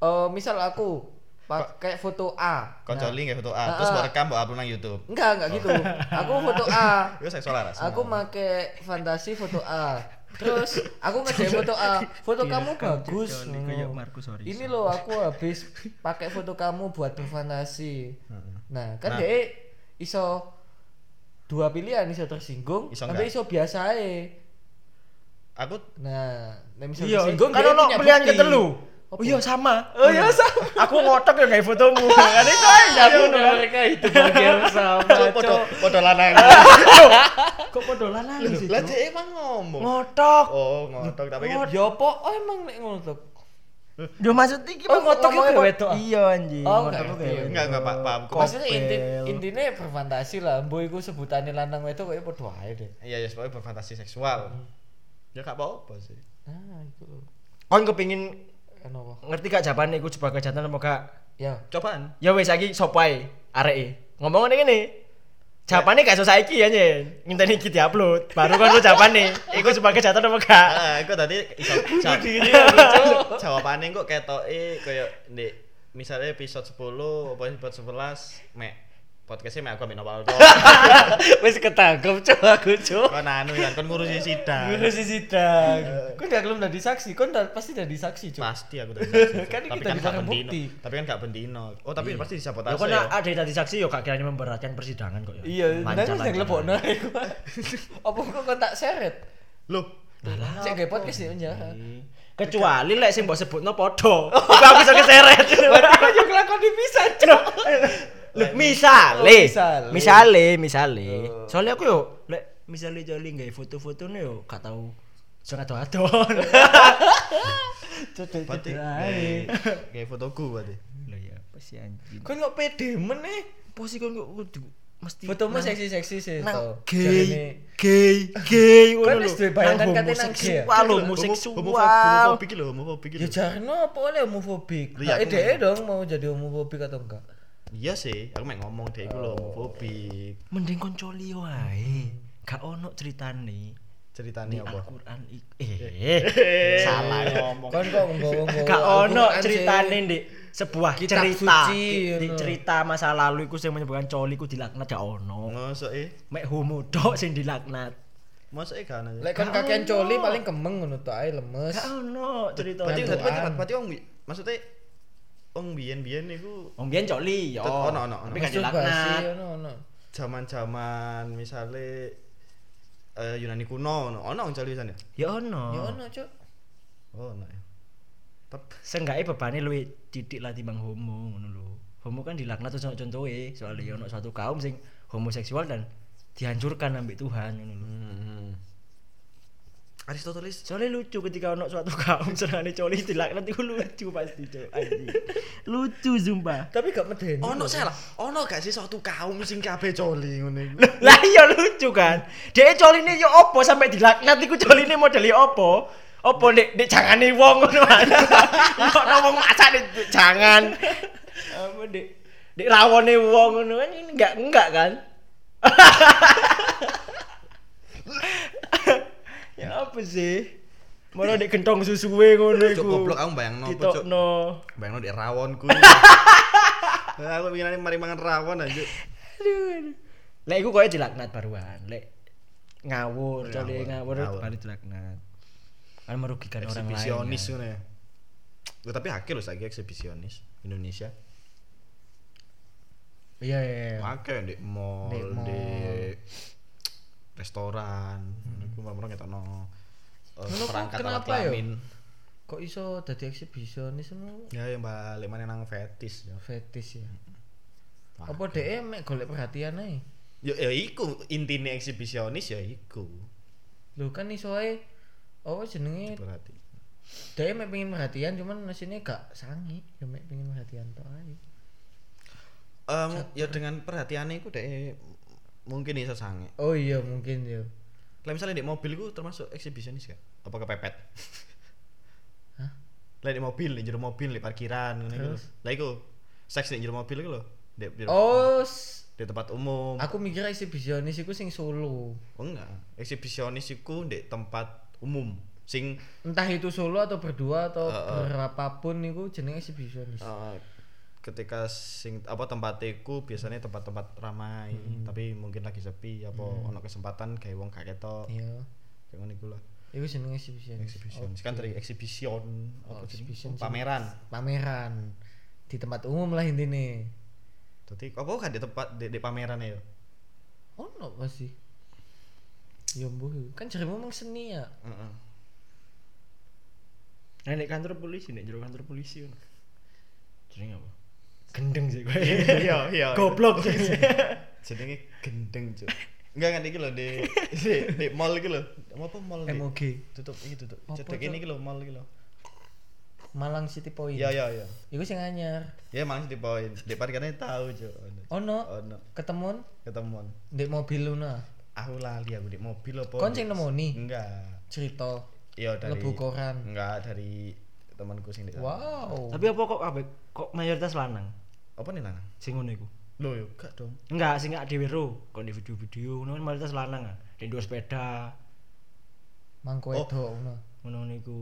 Speaker 3: eh, misal aku pakai foto A
Speaker 2: Nah.
Speaker 1: konco link ya foto A
Speaker 3: Ah,
Speaker 1: terus
Speaker 3: ah.
Speaker 1: mau rekam mau upload nang YouTube
Speaker 3: enggak enggak gitu
Speaker 1: Oh.
Speaker 3: aku foto A
Speaker 1: itu seksual aras
Speaker 3: aku make fantasi foto A terus aku ngejek foto A foto
Speaker 1: Iya,
Speaker 3: kamu
Speaker 1: kan
Speaker 3: bagus
Speaker 2: Johnny,
Speaker 3: ngono.
Speaker 2: kayak Marcus Horizon.
Speaker 3: ini loh aku habis pakai foto kamu buat berfantasi nah
Speaker 1: Nah.
Speaker 3: kan dia iso dua pilihan iso tersinggung
Speaker 1: Iso
Speaker 3: tapi
Speaker 1: enggak?
Speaker 3: iso biasa ae
Speaker 1: aku
Speaker 3: nah nek misal
Speaker 2: Iya,
Speaker 3: tersinggung
Speaker 2: kan
Speaker 3: dia
Speaker 2: ono
Speaker 3: punya
Speaker 2: pilihan
Speaker 3: bukti.
Speaker 2: ketelu.
Speaker 3: Apa?
Speaker 2: Oh iya sama. Oh iya sama. Aku ngotok ya kayak fotomu. Kan itu aja aku
Speaker 3: Ayo, mereka itu bagian sama
Speaker 1: Cuk, podo
Speaker 3: cok
Speaker 1: podo lanang
Speaker 2: Kok podo lalang
Speaker 1: Loh,
Speaker 2: sih?
Speaker 1: lah
Speaker 2: Cuk?
Speaker 1: dia emang ngomong
Speaker 2: Ngotok.
Speaker 1: oh ngotok tapi kan
Speaker 3: Oh, ya apa? Oh, emang nek ngono tuh.
Speaker 2: Yo maksud iki
Speaker 3: Oh,
Speaker 2: mah ngotok
Speaker 3: ngomongnya
Speaker 2: iku
Speaker 3: kayak
Speaker 2: wedok.
Speaker 3: wedok.
Speaker 2: Iya anjing.
Speaker 3: Oh,
Speaker 2: ngotok
Speaker 3: ngerti.
Speaker 2: kayak wedok.
Speaker 1: Enggak, enggak, Pak, paham. Kok-
Speaker 3: Maksudnya inti,
Speaker 2: Kopel.
Speaker 3: intinya berfantasi lah, mbo iku sebutane lanang wedok kaya padha ae deh.
Speaker 1: iya ya sebagai berfantasi seksual
Speaker 2: Hmm.
Speaker 1: ya gak apa-apa sih
Speaker 3: Nah, iku lho.
Speaker 2: Kon kepengin
Speaker 3: Kenapa?
Speaker 2: ngerti gak jawabannya iku sebagai kejahatan apa gak?
Speaker 3: Ya,
Speaker 1: cobaan
Speaker 2: Ya wis saiki sopo ae areke. Ngomong ngene ngene. Jawabannya gak susah iki ya nyen. Ngenteni iki diupload. Baru kan lu jawabannya. Iku sebagai kejahatan apa gak?
Speaker 1: ah aku tadi iso- jawab- jawabannya kok ketoke koyo ndek misalnya episode 10 apa episode 11 mek podcastnya mek aku ambil nopal tok.
Speaker 3: wis ketangkep cok aku cok.
Speaker 1: kon anu kan kon ngurusi sidang
Speaker 2: Ngurusi sidang.
Speaker 3: Kau udah belum dari saksi, kau udah pasti dari saksi cok.
Speaker 1: pasti aku tadi saksi, Cuk.
Speaker 3: Kan
Speaker 1: tapi
Speaker 3: kita Iya.
Speaker 1: kan
Speaker 3: bisa
Speaker 1: gak bendino
Speaker 3: ngebukti.
Speaker 1: tapi kan gak bendino oh tapi pasti
Speaker 2: Ya
Speaker 1: disabotase
Speaker 2: kan
Speaker 1: ya
Speaker 2: ada tadi saksi yo gak kiranya memberatkan persidangan kok ya.
Speaker 3: Iya, nanti
Speaker 2: Lancar,
Speaker 3: bisa
Speaker 2: lancar.
Speaker 3: ngelebokno iku. Apa kok kau tak seret?
Speaker 1: loh
Speaker 2: Lah,
Speaker 3: Cek gak podcast ya, sih
Speaker 2: Iya.
Speaker 3: penjara.
Speaker 2: Kecuali lek sing mbok sebutno padha. Iku aku iso keseret.
Speaker 3: Berarti kau juga lakon dipisah cok.
Speaker 2: Loh, misale.
Speaker 3: Oh, misale. Oh.
Speaker 2: Misale, misale. Soalnya aku yo lek misale jali nggae foto-fotone yo gak tau sing ado-adon.
Speaker 3: gitu
Speaker 2: Cedek
Speaker 1: berarti Iya, kayak fotoku berarti
Speaker 2: Lho ya,
Speaker 3: iya.
Speaker 2: apa sih anjing.
Speaker 3: Kau nggak pede men eh.
Speaker 2: Posisi kon kok kudu mesti
Speaker 3: Fotomu seksi-seksi sih
Speaker 2: nang
Speaker 3: toh.
Speaker 2: gay
Speaker 3: Jarene-
Speaker 2: gay gay
Speaker 3: Kan wis duwe bayangan katanya nang gay ya?
Speaker 2: homoseksual lho
Speaker 1: Homo- gitu
Speaker 2: homoseksual
Speaker 1: homofobik lho homofobik
Speaker 3: Ya
Speaker 1: lho
Speaker 3: jarno apa oleh homofobik?
Speaker 1: Iya,
Speaker 3: Nah,
Speaker 1: aku
Speaker 3: ide dong mau jadi homofobik atau enggak?
Speaker 1: iya sih aku mek ngomong deh iku lho homofobik
Speaker 2: mending kon coli wae gak ono ceritane
Speaker 1: ceritanya apa
Speaker 2: Al-Qur'an ik- eh salah ngomong
Speaker 3: Kan kok ngomong-ngomong.
Speaker 2: gak ono
Speaker 3: Oh, Al-Quran sih.
Speaker 2: ceritane ndik sebuah
Speaker 3: Kitab
Speaker 2: cerita
Speaker 3: suci,
Speaker 2: Di-
Speaker 3: ngono.
Speaker 2: cerita masa lalu iku sing menyebutkan coli ku dilaknat gak ono
Speaker 1: Masuk eh,
Speaker 2: mek homo tok sing dilaknat
Speaker 1: masuk eh kan.
Speaker 3: Lek kan kakean coli paling kemeng ngono tok ae lemes.
Speaker 2: gak ono cerita
Speaker 1: Berarti
Speaker 3: Tuhan.
Speaker 1: berarti berarti wong bi- maksudnya wong biyen-biyen niku
Speaker 2: Wong biyen coli yo.
Speaker 1: Tet- ono, ono, ono.
Speaker 2: Tapi gak
Speaker 3: Masturbasi
Speaker 2: dilaknat.
Speaker 3: ono ono.
Speaker 1: zaman-zaman misalnya eh, Yunani kuno ono ono wong cali sana.
Speaker 2: Ya ono.
Speaker 3: Ya ono, Cuk.
Speaker 1: Oh, ono. ya. Tep-
Speaker 2: Seenggaknya bebane luwih titik lah timbang homo ngono lho. Homo kan dilaknat terus ono contohe, soalnya ono suatu kaum sing homoseksual dan dihancurkan ambek Tuhan ngono lho.
Speaker 1: Mm-hmm. Aristoteles
Speaker 2: Soalnya lucu ketika ono suatu kaum senane coli dilaknat iku lucu pasti, Cuk. Anjing. lucu sumpah.
Speaker 3: Tapi gak medeni.
Speaker 1: ono salah. Ono gak sih suatu kaum sing kabeh coli ngene iku.
Speaker 2: Lah ya lucu kan. Dhek coline yo opo sampai dilaknat iku coline modele opo? Opo nek nek jangane wong ngono kan. Kok ana wong masak nek jangan. Apa nek nek rawone wong ngono kan ini enggak enggak kan? ya apa sih? Moro nek gentong susuwe ngono iku.
Speaker 1: Cuk goblok aku bayangno apa cuk.
Speaker 2: Ditokno.
Speaker 1: Bayangno di rawonku. Nah, aku pengen mari mangan rawon aja.
Speaker 2: Lek iku koyo dilaknat baruan. Lek ngawur,
Speaker 1: Ngawur,
Speaker 2: coli ngawur,
Speaker 1: ngawur.
Speaker 2: baru dilaknat. Kan merugikan orang lain.
Speaker 1: Eksibisionis
Speaker 2: kan.
Speaker 1: ngono ya. Loh, tapi akeh lho saiki eksibisionis Indonesia.
Speaker 3: Iya iya. iya.
Speaker 1: Akeh di mall,
Speaker 3: Di mall.
Speaker 1: di restoran. Iku mereka ngetokno eh,
Speaker 3: Ngono kok
Speaker 1: perangkat alat
Speaker 3: kenapa yo?
Speaker 1: kelamin.
Speaker 3: Kok iso dadi eksibisionis ngono?
Speaker 1: Ya yang balik mana nang fetis ya.
Speaker 3: Fetis ya. Apa dhek e mek golek perhatian ae?
Speaker 1: Ya ya iku intine eksibisionis ya iku.
Speaker 3: Lho kan iso ae apa jenenge
Speaker 1: Berarti.
Speaker 3: Dia mek pengen perhatian cuman mesinnya gak sangi, ya mek pengen perhatian tok ae.
Speaker 1: Em, ya dengan perhatiannya iku deh mungkin iso sange.
Speaker 3: Oh iya mungkin ya.
Speaker 1: Lah misalnya di mobil iku termasuk eksibisionis gak? Apa kepepet?
Speaker 3: Hah?
Speaker 1: Lah di mobil, di jero mobil, di parkiran ngono iku. lho.
Speaker 3: Terus?
Speaker 1: Lah iku seks di jero mobil iku lho. Di, di,
Speaker 3: Oh, Ah. s-
Speaker 1: di tempat umum.
Speaker 3: aku mikir eksibisionis iku sing solo.
Speaker 1: Oh enggak, eksibisionis iku di tempat umum sing
Speaker 3: Entah itu solo atau berdua atau
Speaker 1: Heeh.
Speaker 3: berapapun iku jenenge eksibisionis.
Speaker 1: eh, ketika sing apa tempat iku biasanya tempat-tempat ramai,
Speaker 3: Hmm.
Speaker 1: tapi mungkin lagi sepi apa ono kesempatan kayak wong gak ketok.
Speaker 3: Iya.
Speaker 1: Kayak ngono iku lah.
Speaker 3: Iku jenenge eksibisionis.
Speaker 1: Exhibition. Kan dari exhibition apa
Speaker 3: Iya. Oh, exhibition
Speaker 1: jenenge?
Speaker 3: sih.
Speaker 1: Pameran.
Speaker 3: Pameran di tempat umum lah intine.
Speaker 1: Dadi apa kan di tempat di, di pameran ya?
Speaker 3: Ono pasti. Ya mbuh, kan jarimu emang seni ya.
Speaker 1: Heeh.
Speaker 2: Nah, nek kantor polisi, nek jero kantor polisi ngono.
Speaker 1: Jenenge apa?
Speaker 2: Gendeng sih gue.
Speaker 1: Iya, iya.
Speaker 2: Goblok sih.
Speaker 1: Jenenge gendeng, Cuk. Enggak kan iki lho di di, di mall iki lho. Apa mall di?
Speaker 3: MOG.
Speaker 1: Tutup iki tutup.
Speaker 3: Apa,
Speaker 1: Cedek
Speaker 3: Cuk?
Speaker 1: ini iki lho mall iki lho.
Speaker 3: Malang City Point.
Speaker 1: Iya, iya, iya.
Speaker 3: Iku sing anyar.
Speaker 1: Ya malah di poin. Di parkirannya tahu, Cuk. Ono.
Speaker 3: Ono
Speaker 1: Ono
Speaker 3: ketemuan
Speaker 1: ketemuan.
Speaker 3: ndek mobil Luna.
Speaker 1: Aku lali aku di mobil apa?
Speaker 3: Kon sing
Speaker 1: Hmm.
Speaker 3: nemoni
Speaker 1: Enggak.
Speaker 3: cerita
Speaker 1: Iya dari
Speaker 3: lebu koran.
Speaker 1: Enggak dari temanku sing di sana.
Speaker 3: Wow.
Speaker 2: Tapi apa kok kabeh kok mayoritas lanang
Speaker 1: Apa nih lanang?
Speaker 2: sing ngono iku?
Speaker 1: Loh, yo gak dong.
Speaker 2: Enggak, sing gak dhewe ro. Kok di video-video ngono kan mayoritas lanang ah. Di dua sepeda
Speaker 3: Mangko
Speaker 1: Oh.
Speaker 3: edo ngono.
Speaker 2: ngono iku.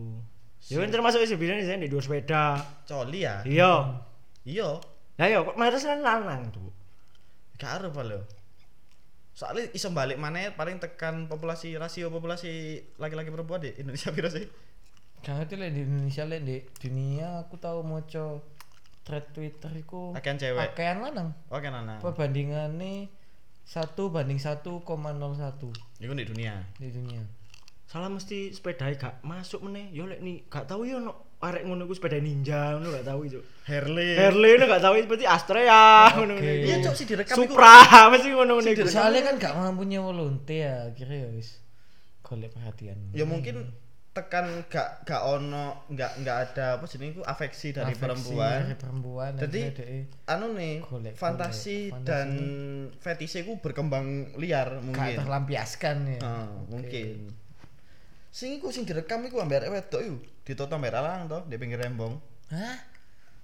Speaker 2: Ya kan termasuk eksibisionis ya di dua sepeda.
Speaker 1: Coli ya?
Speaker 2: Iya.
Speaker 1: Iya.
Speaker 2: Lah ya kok mayoritas kan lanang tuh.
Speaker 1: Gak arep lho. Soalnya iso balik mana paling tekan populasi rasio populasi laki-laki perempuan di Indonesia piro sih?
Speaker 3: Jangan ngerti lek di Indonesia lek di dunia aku tahu moco thread Twitter iku
Speaker 1: Pakaian cewek.
Speaker 3: Pakaian lanang.
Speaker 1: Oke Nana.
Speaker 3: Perbandingannya 1 banding 1,01
Speaker 1: Iku di dunia.
Speaker 3: di dunia.
Speaker 2: Salah mesti sepeda gak masuk meneh. Yo lek ni gak tahu yo no arek ngono iku sepeda ninja ngono gak tahu itu.
Speaker 3: Eh.
Speaker 1: Harley.
Speaker 2: Harley ngono gak tahu berarti Astrea
Speaker 3: Oh,
Speaker 2: ngono ngono. iku.
Speaker 1: Iya, Cok, sih direkam iku.
Speaker 2: Supra mesti ngono ngono iku.
Speaker 3: Soalnya kan gak mampu nyewa lonte ya akhirnya ya wis golek perhatian.
Speaker 1: Ya mungkin tekan gak gak ono gak gak ada apa jenenge iku afeksi dari
Speaker 3: Afeksi
Speaker 1: perempuan.
Speaker 3: dari perembuan
Speaker 1: Jadi,
Speaker 3: akhirnya dhek
Speaker 1: Anu nih
Speaker 3: Golek,
Speaker 1: fantasi
Speaker 3: golek.
Speaker 1: dan fetise ku berkembang liar
Speaker 3: gak
Speaker 1: mungkin.
Speaker 3: terlampiaskan ya.
Speaker 1: Ah, mungkin. Sing iku sing direkam iku ambek arek wedok iku ditoto ambek arek lanang to di pinggir rembong.
Speaker 3: Hah?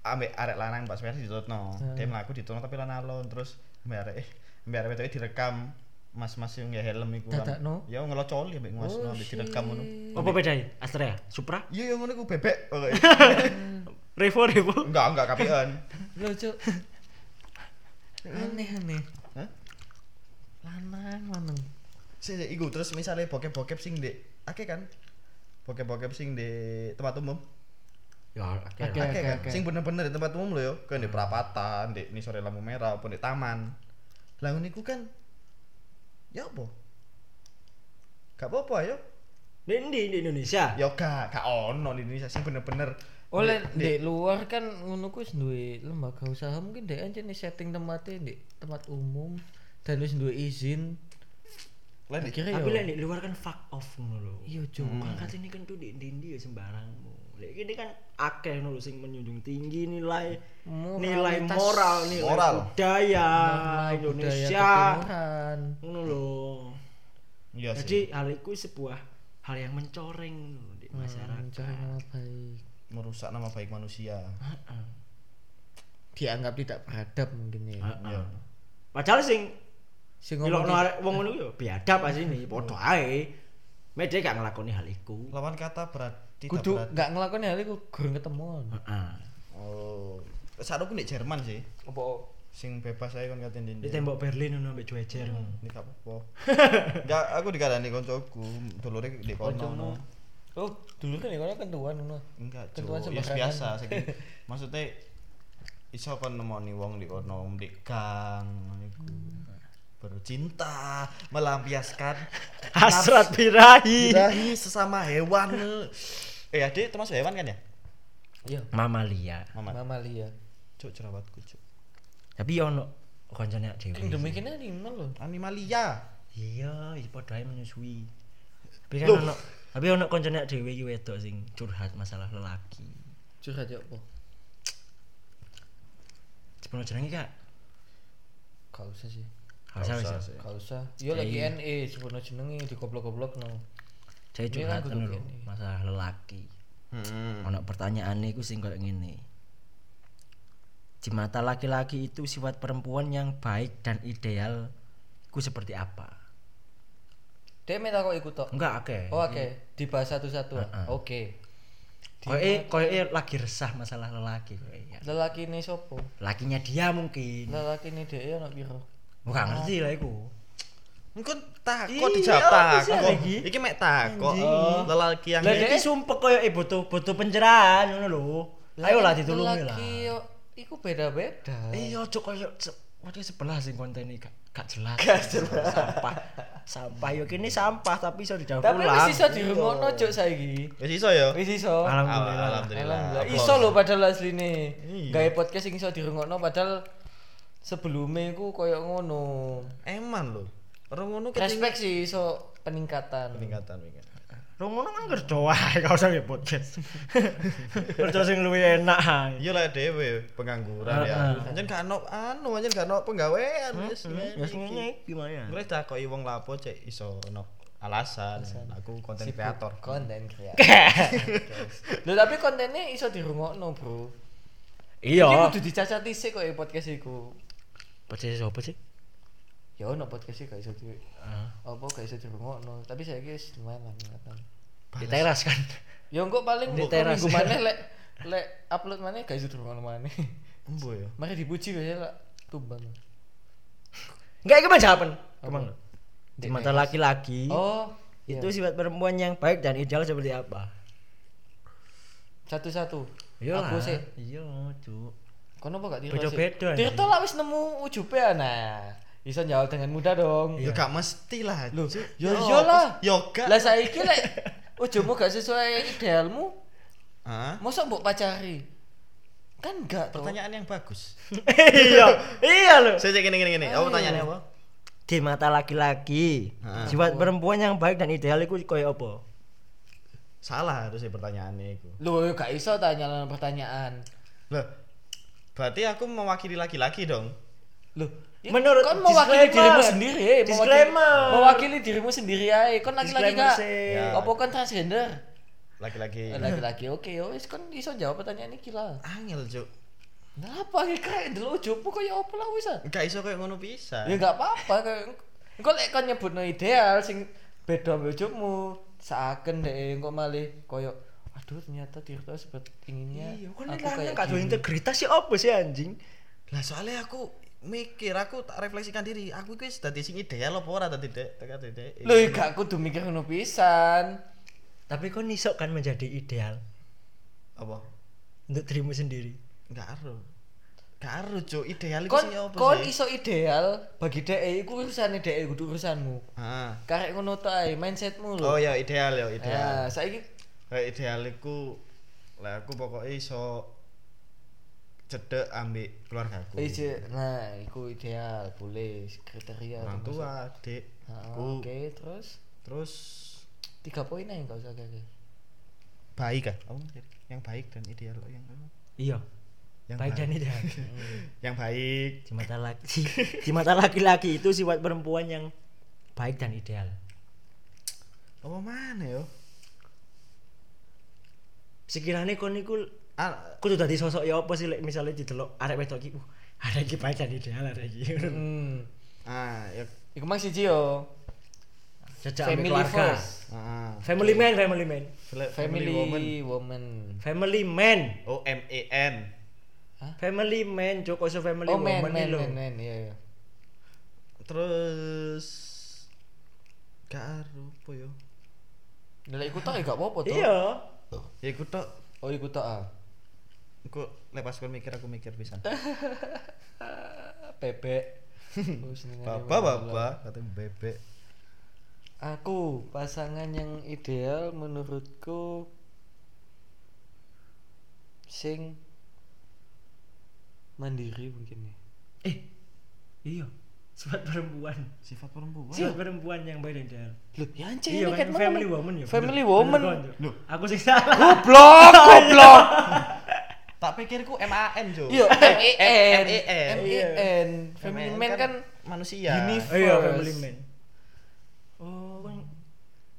Speaker 1: ambek arek lanang pas sepeda ditutno.
Speaker 3: Ah.
Speaker 1: Dia mlaku ditutno tapi lan alon terus ambek arek eh, ambek arek wedoke direkam mas-mas yang nggak helm iku kan.
Speaker 3: Dadakno?
Speaker 1: Ya ngelocoli ambek mas
Speaker 3: Oh,
Speaker 1: ambek direkam ngono.
Speaker 2: Apa bedanya? Astrea, Supra,
Speaker 1: Iya ya ngono iku bebek pokoknya.
Speaker 2: Revo, Revo.
Speaker 1: Enggak enggak kapian.
Speaker 3: Lho, Cuk. Aneh aneh.
Speaker 1: Hah?
Speaker 3: Lanang lanang.
Speaker 1: Sing sing, iku terus misalnya bokep-bokep sing ndek akeh kan. Bokep-bokep sing di tempat umum.
Speaker 2: Ya,
Speaker 3: Oke,
Speaker 1: Akeh
Speaker 3: oke,
Speaker 1: kan.
Speaker 3: oke.
Speaker 1: Sing bener-bener di tempat umum lho ya. Kayak di perapatan, di ini sore lampu merah, apa di taman. Lah ngono iku kan ya apa? Gak apa-apa ayo.
Speaker 2: Di, di, di Indonesia.
Speaker 1: Ya gak, gak ono di Indonesia sih bener-bener.
Speaker 3: Oleh
Speaker 1: Di-
Speaker 3: di luar kan ngono ku wis duwe lembaga usaha mungkin dhek aja nih setting tempatnya di tempat umum dan wis duwe izin.
Speaker 1: Lah di-
Speaker 3: Akhirnya
Speaker 2: Tapi lah di
Speaker 3: ya.
Speaker 2: luar kan fuck off ngono lho.
Speaker 3: Iya, Cuk.
Speaker 2: Mangkat ini kan tuh di di India sembarangmu. Lek ini kan akeh ngono lho sing menjunjung tinggi nilai nilai
Speaker 3: Moralitas.
Speaker 2: moral, nilai
Speaker 1: Moral.
Speaker 2: budaya
Speaker 3: Norma
Speaker 2: Indonesia.
Speaker 3: budaya ketimuran.
Speaker 2: Ngono lho.
Speaker 1: Iya sih.
Speaker 2: Jadi hal itu sebuah hal yang mencoreng lho di
Speaker 3: Hmm.
Speaker 2: masyarakat.
Speaker 3: Mencari nama baik.
Speaker 1: merusak nama baik manusia.
Speaker 2: Heeh.
Speaker 3: Dianggap tidak beradab mungkin ya.
Speaker 2: Ah.
Speaker 1: Iya.
Speaker 2: Padahal sing
Speaker 3: Sing
Speaker 2: Ngomong
Speaker 3: ngomong
Speaker 2: no arek wong ngono ku yo biadab asline, padha ae. Mek dhek gak nglakoni hal iku.
Speaker 1: Lawan kata berarti
Speaker 3: kudu gak ngelakoni hal iku gurung ketemuan.
Speaker 2: Heeh.
Speaker 1: Oh. Saat aku di Jerman sih,
Speaker 3: Apa?
Speaker 1: sing bebas aja kan katen dindi.
Speaker 2: Di tembok Berlin ngono mbek cuecer.
Speaker 1: Ini gak apa-apa. Enggak, aku dikadani koncoku, dulure di kono. no.
Speaker 3: Oh, dulu kan ya kono kentuan ngono.
Speaker 1: Enggak,
Speaker 3: Ketuan
Speaker 1: cuy. Ya
Speaker 3: sembarangan.
Speaker 1: biasa saiki. Maksudnya iso kon nemoni wong di kono, di gang ngono iku. Bercinta, melampiaskan
Speaker 2: Hasrat birahi.
Speaker 1: birahi sesama hewan. Eh, adik termasuk hewan kan ya?
Speaker 3: Iya,
Speaker 2: Mamalia.
Speaker 1: Mama.
Speaker 3: mamalia.
Speaker 1: Cuk jerawatku, cuk.
Speaker 2: Tapi yo ono koncone awake dhewe.
Speaker 3: Demi kene animal lho.
Speaker 1: Animalia.
Speaker 2: Iya, ya padha ae menyusui. Tapi kan
Speaker 1: Loh.
Speaker 2: ono Tapi ono koncone dhewe iki wedok sing curhat masalah lelaki.
Speaker 3: curhat ya apa
Speaker 2: Cepet jenenge Kak.
Speaker 3: gak usah sih
Speaker 2: Gak usah,
Speaker 1: usah
Speaker 2: wis.
Speaker 1: sih.
Speaker 3: gak usah iya
Speaker 2: Ya
Speaker 3: lagi
Speaker 2: iya.
Speaker 3: NE sebenarnya jenenge digoblok-goblok no
Speaker 2: Saya
Speaker 3: Ini
Speaker 2: curhat
Speaker 3: kan kudu
Speaker 2: ngono lho,
Speaker 3: gini. Hmm.
Speaker 2: masalah lelaki.
Speaker 1: Heeh.
Speaker 2: Ono pertanyaane iku sing koyo ngene. Di mata laki-laki itu sifat perempuan yang baik dan ideal ku seperti apa?
Speaker 3: dia minta kok ikut tok
Speaker 2: Enggak akeh.
Speaker 3: oh oke dibahas satu-satu
Speaker 2: Heeh.
Speaker 3: oke
Speaker 2: Koe koe e, lagi resah masalah lelaki koe. ya.
Speaker 3: lelaki ini sopo
Speaker 2: Lakinya dia mungkin.
Speaker 3: lelaki ini dia anak biru
Speaker 2: Enggak ngerti lah iku.
Speaker 1: Engko takut
Speaker 2: Iya,
Speaker 1: dijawab
Speaker 2: apa sih
Speaker 1: takut.
Speaker 2: lagi?
Speaker 1: Iki mek takut
Speaker 2: Anjing.
Speaker 1: lelaki yang
Speaker 2: Lah iki sumpek koyo eh butuh butuh pencerahan ngono lho. Ayo lah ditulungi lah.
Speaker 3: lelaki yo iku beda-beda
Speaker 2: Iya cok koyo se- waduh sebelah sih konten ini gak, gak jelas. Gak jelas. Sampah. Sampah yo kini sampah tapi iso didaur
Speaker 3: tapi
Speaker 2: ulang.
Speaker 3: wis iso dirungokno cuk saiki
Speaker 1: wis iso ya.
Speaker 3: wis iso
Speaker 2: Alhamdulillah.
Speaker 1: Alhamdulillah.
Speaker 3: Alhamdulillah. Iso lho padahal asline.
Speaker 1: Iya.
Speaker 3: Gawe podcast sing iso dirungokno padahal sebelumnya ku koyo ngono.
Speaker 1: Eman lho. Orang ngono ketinggalan
Speaker 3: Respek sih iso peningkatan.
Speaker 1: peningkatan peningkatan.
Speaker 2: Lu ngono kan kerja wae gak usah nge podcast. Kerja sing luwih enak. ae.
Speaker 1: Iya lah dhewe pengangguran ya.
Speaker 2: Ah,
Speaker 1: Anjen gak ono anu, anjen gak ono penggawean wis.
Speaker 2: Ya sing ngene iki gimana?
Speaker 1: Gue takoki wong lapo cek iso ono alasan. Nah, Aku konten kreator.
Speaker 3: Konten kreator. Lho tapi kontennya iso dirungokno, Bro. Iki
Speaker 2: Iya.
Speaker 3: kudu dicacati sih kok ya podcast iku.
Speaker 2: Podcast sapa sih?
Speaker 3: Ya ono podcast sih gak iso di
Speaker 2: Ah,
Speaker 3: apa gak iso dirungokno, tapi saya wis lumayan lah peningkatan.
Speaker 2: Di teras kan.
Speaker 3: Ya engko
Speaker 2: Di
Speaker 3: paling mbok
Speaker 2: teras.
Speaker 3: minggu maneh lek lek upload maneh gak iso dirungokno maneh.
Speaker 1: Embo ya.
Speaker 3: Mari dipuji kayaknya lah tumbang.
Speaker 2: Enggak iki mah jawaban.
Speaker 3: Apa?
Speaker 2: Kemang. Di iya. mata laki-laki
Speaker 3: Eh, Oh,
Speaker 2: itu sifat perempuan yang baik dan ideal seperti apa?
Speaker 3: satu-satu.
Speaker 2: Iya
Speaker 3: Aku sih.
Speaker 2: Iya, Cuk.
Speaker 3: Kono apa gak Tirta?
Speaker 2: Beda-beda,
Speaker 3: sih? Tirta lah wis nemu ujube ah, nah. Bisa jawab dengan mudah dong.
Speaker 1: Ya
Speaker 2: Iya.
Speaker 1: gak mesti lah.
Speaker 3: Iya. Loh,
Speaker 1: Cuk.
Speaker 3: ya
Speaker 1: Ya,
Speaker 3: iya lah.
Speaker 1: Ya gak.
Speaker 3: Lah saiki lek ujungmu gak sesuai idealmu,
Speaker 1: Hah?
Speaker 3: mosok mbok pacari? Kan gak toh.
Speaker 1: Pertanyaan yang bagus.
Speaker 2: Iya, iya lho.
Speaker 1: Saya cek gini gini gini. Apa pertanyaannya apa?
Speaker 2: Di mata laki-laki,
Speaker 1: Heeh.
Speaker 2: sifat perempuan yang baik dan ideal itu koyo apa?
Speaker 1: Salah harusnya pertanyaannya itu.
Speaker 3: Lho gak iso tanya lan pertanyaan.
Speaker 1: Loh. Berarti aku mewakili laki-laki dong.
Speaker 3: Loh, ya
Speaker 2: Menurut-
Speaker 3: kon mewakili
Speaker 2: disclaimer.
Speaker 3: dirimu sendiri, eh. mewakili-
Speaker 2: Disclaimer.
Speaker 3: Mewakili dirimu sendiri ae. Kon laki-laki
Speaker 2: Disclaimer
Speaker 3: gak?
Speaker 2: sih.
Speaker 1: Ya.
Speaker 3: Apa kon transgender?
Speaker 1: Laki-laki.
Speaker 3: Eh, Laki-laki oke yo wis kon iso jawab pertanyaan iki lah.
Speaker 1: Angel, Cuk.
Speaker 3: Kenapa iki kayak delok ujungmu kaya apa lah wis ah.
Speaker 1: Gak iso kayak ngono bisa.
Speaker 3: Ya enggak apa-apa kayak engko lek kon nyebutno ideal sing beda ambek ujungmu seaken deh engko malih koyo aduh ternyata Tirta sebet inginnya
Speaker 2: Iya, kan
Speaker 3: aku
Speaker 2: lanang
Speaker 3: kayak
Speaker 2: gak duwe
Speaker 3: gini."
Speaker 2: integritas sih apa sih anjing?
Speaker 1: Lah soalnya aku mikir aku tak refleksikan diri aku itu tadi sing ideal apa ora tadi dek teka dek
Speaker 3: Lho ya gak kudu mikir ngono pisan.
Speaker 2: Tapi kok iso kan menjadi ideal
Speaker 1: apa
Speaker 2: untuk dirimu sendiri.
Speaker 1: enggak aru enggak aru cuk ideal itu
Speaker 3: Kon
Speaker 1: sih apa
Speaker 3: kon
Speaker 1: sih
Speaker 3: iso ideal bagi dhek iku urusane dhek kudu urusanmu.
Speaker 1: ah
Speaker 3: Karek ngono tok ae mindsetmu lho.
Speaker 1: oh ya ideal ya ideal
Speaker 3: Ya, saiki
Speaker 1: kayak ideal iku lah aku pokoknya iso cedek ambek keluargaku
Speaker 3: Ije, nah, iku ideal, boleh kriteria
Speaker 1: orang
Speaker 3: Iya, termasuk.
Speaker 1: tua adik
Speaker 3: Ah,
Speaker 1: aku
Speaker 3: Oke, terus
Speaker 1: terus
Speaker 3: tiga poin aja nggak usah kayak
Speaker 1: baik kan oh, yang baik dan ideal yang
Speaker 2: Iya,
Speaker 1: yang
Speaker 2: baik dan ideal.
Speaker 3: Hmm.
Speaker 1: yang baik
Speaker 2: Di mata laki di mata laki-laki itu sifat perempuan yang baik dan ideal.
Speaker 1: apa Oh, mana yo
Speaker 2: Sekiranya kon iku
Speaker 1: Ah,
Speaker 2: kudu dadi sosok ya apa sih lek misale didelok arek wedok iki, uh, arek iki baik dan ideal arek iki.
Speaker 3: Hmm,
Speaker 1: ah ya
Speaker 3: iku mang siji yo.
Speaker 2: Jejak ambek
Speaker 3: Family
Speaker 2: keluarga.
Speaker 3: first,
Speaker 1: ah
Speaker 2: Family man, family man.
Speaker 1: Fle-
Speaker 3: family,
Speaker 1: woman
Speaker 3: woman.
Speaker 2: Family man.
Speaker 1: O M E N
Speaker 2: Family man, Joko so family
Speaker 3: Oh, man,
Speaker 2: woman
Speaker 3: man,
Speaker 2: man, lho.
Speaker 3: man, man, iya, iya.
Speaker 1: terus gak aru apa yo
Speaker 3: Lha iku tok ya gak apa-apa tok.
Speaker 2: Iya.
Speaker 1: ya aku tok
Speaker 3: Oh, iku tok ah.
Speaker 1: aku lepas kon mikir aku mikir pisan
Speaker 3: Bebek. Oh, senengane
Speaker 1: bapak
Speaker 3: wong
Speaker 1: bapak katanya bebek
Speaker 3: Aku pasangan yang ideal menurutku sing mandiri mungkin ya.
Speaker 2: Eh. Iya. sifat perempuan
Speaker 1: Sifat perempuan.
Speaker 2: sifat perempuan yang baik dan ideal
Speaker 3: Loh, ya anjir
Speaker 2: iya
Speaker 3: ini
Speaker 2: kan
Speaker 3: kan
Speaker 2: family woman ya
Speaker 3: Family
Speaker 2: bener.
Speaker 3: woman.
Speaker 2: Bener kan, Jo?
Speaker 1: Loh.
Speaker 2: aku sih salah
Speaker 3: Goblok, goblok.
Speaker 1: Tak pikirku MAN, Jo.
Speaker 3: Iya,
Speaker 2: E
Speaker 3: E M-E-N.
Speaker 1: M-E-N.
Speaker 3: Iya. M-E-N. Family man kan
Speaker 1: manusia.
Speaker 2: oh
Speaker 3: universe.
Speaker 2: iya family man oh kan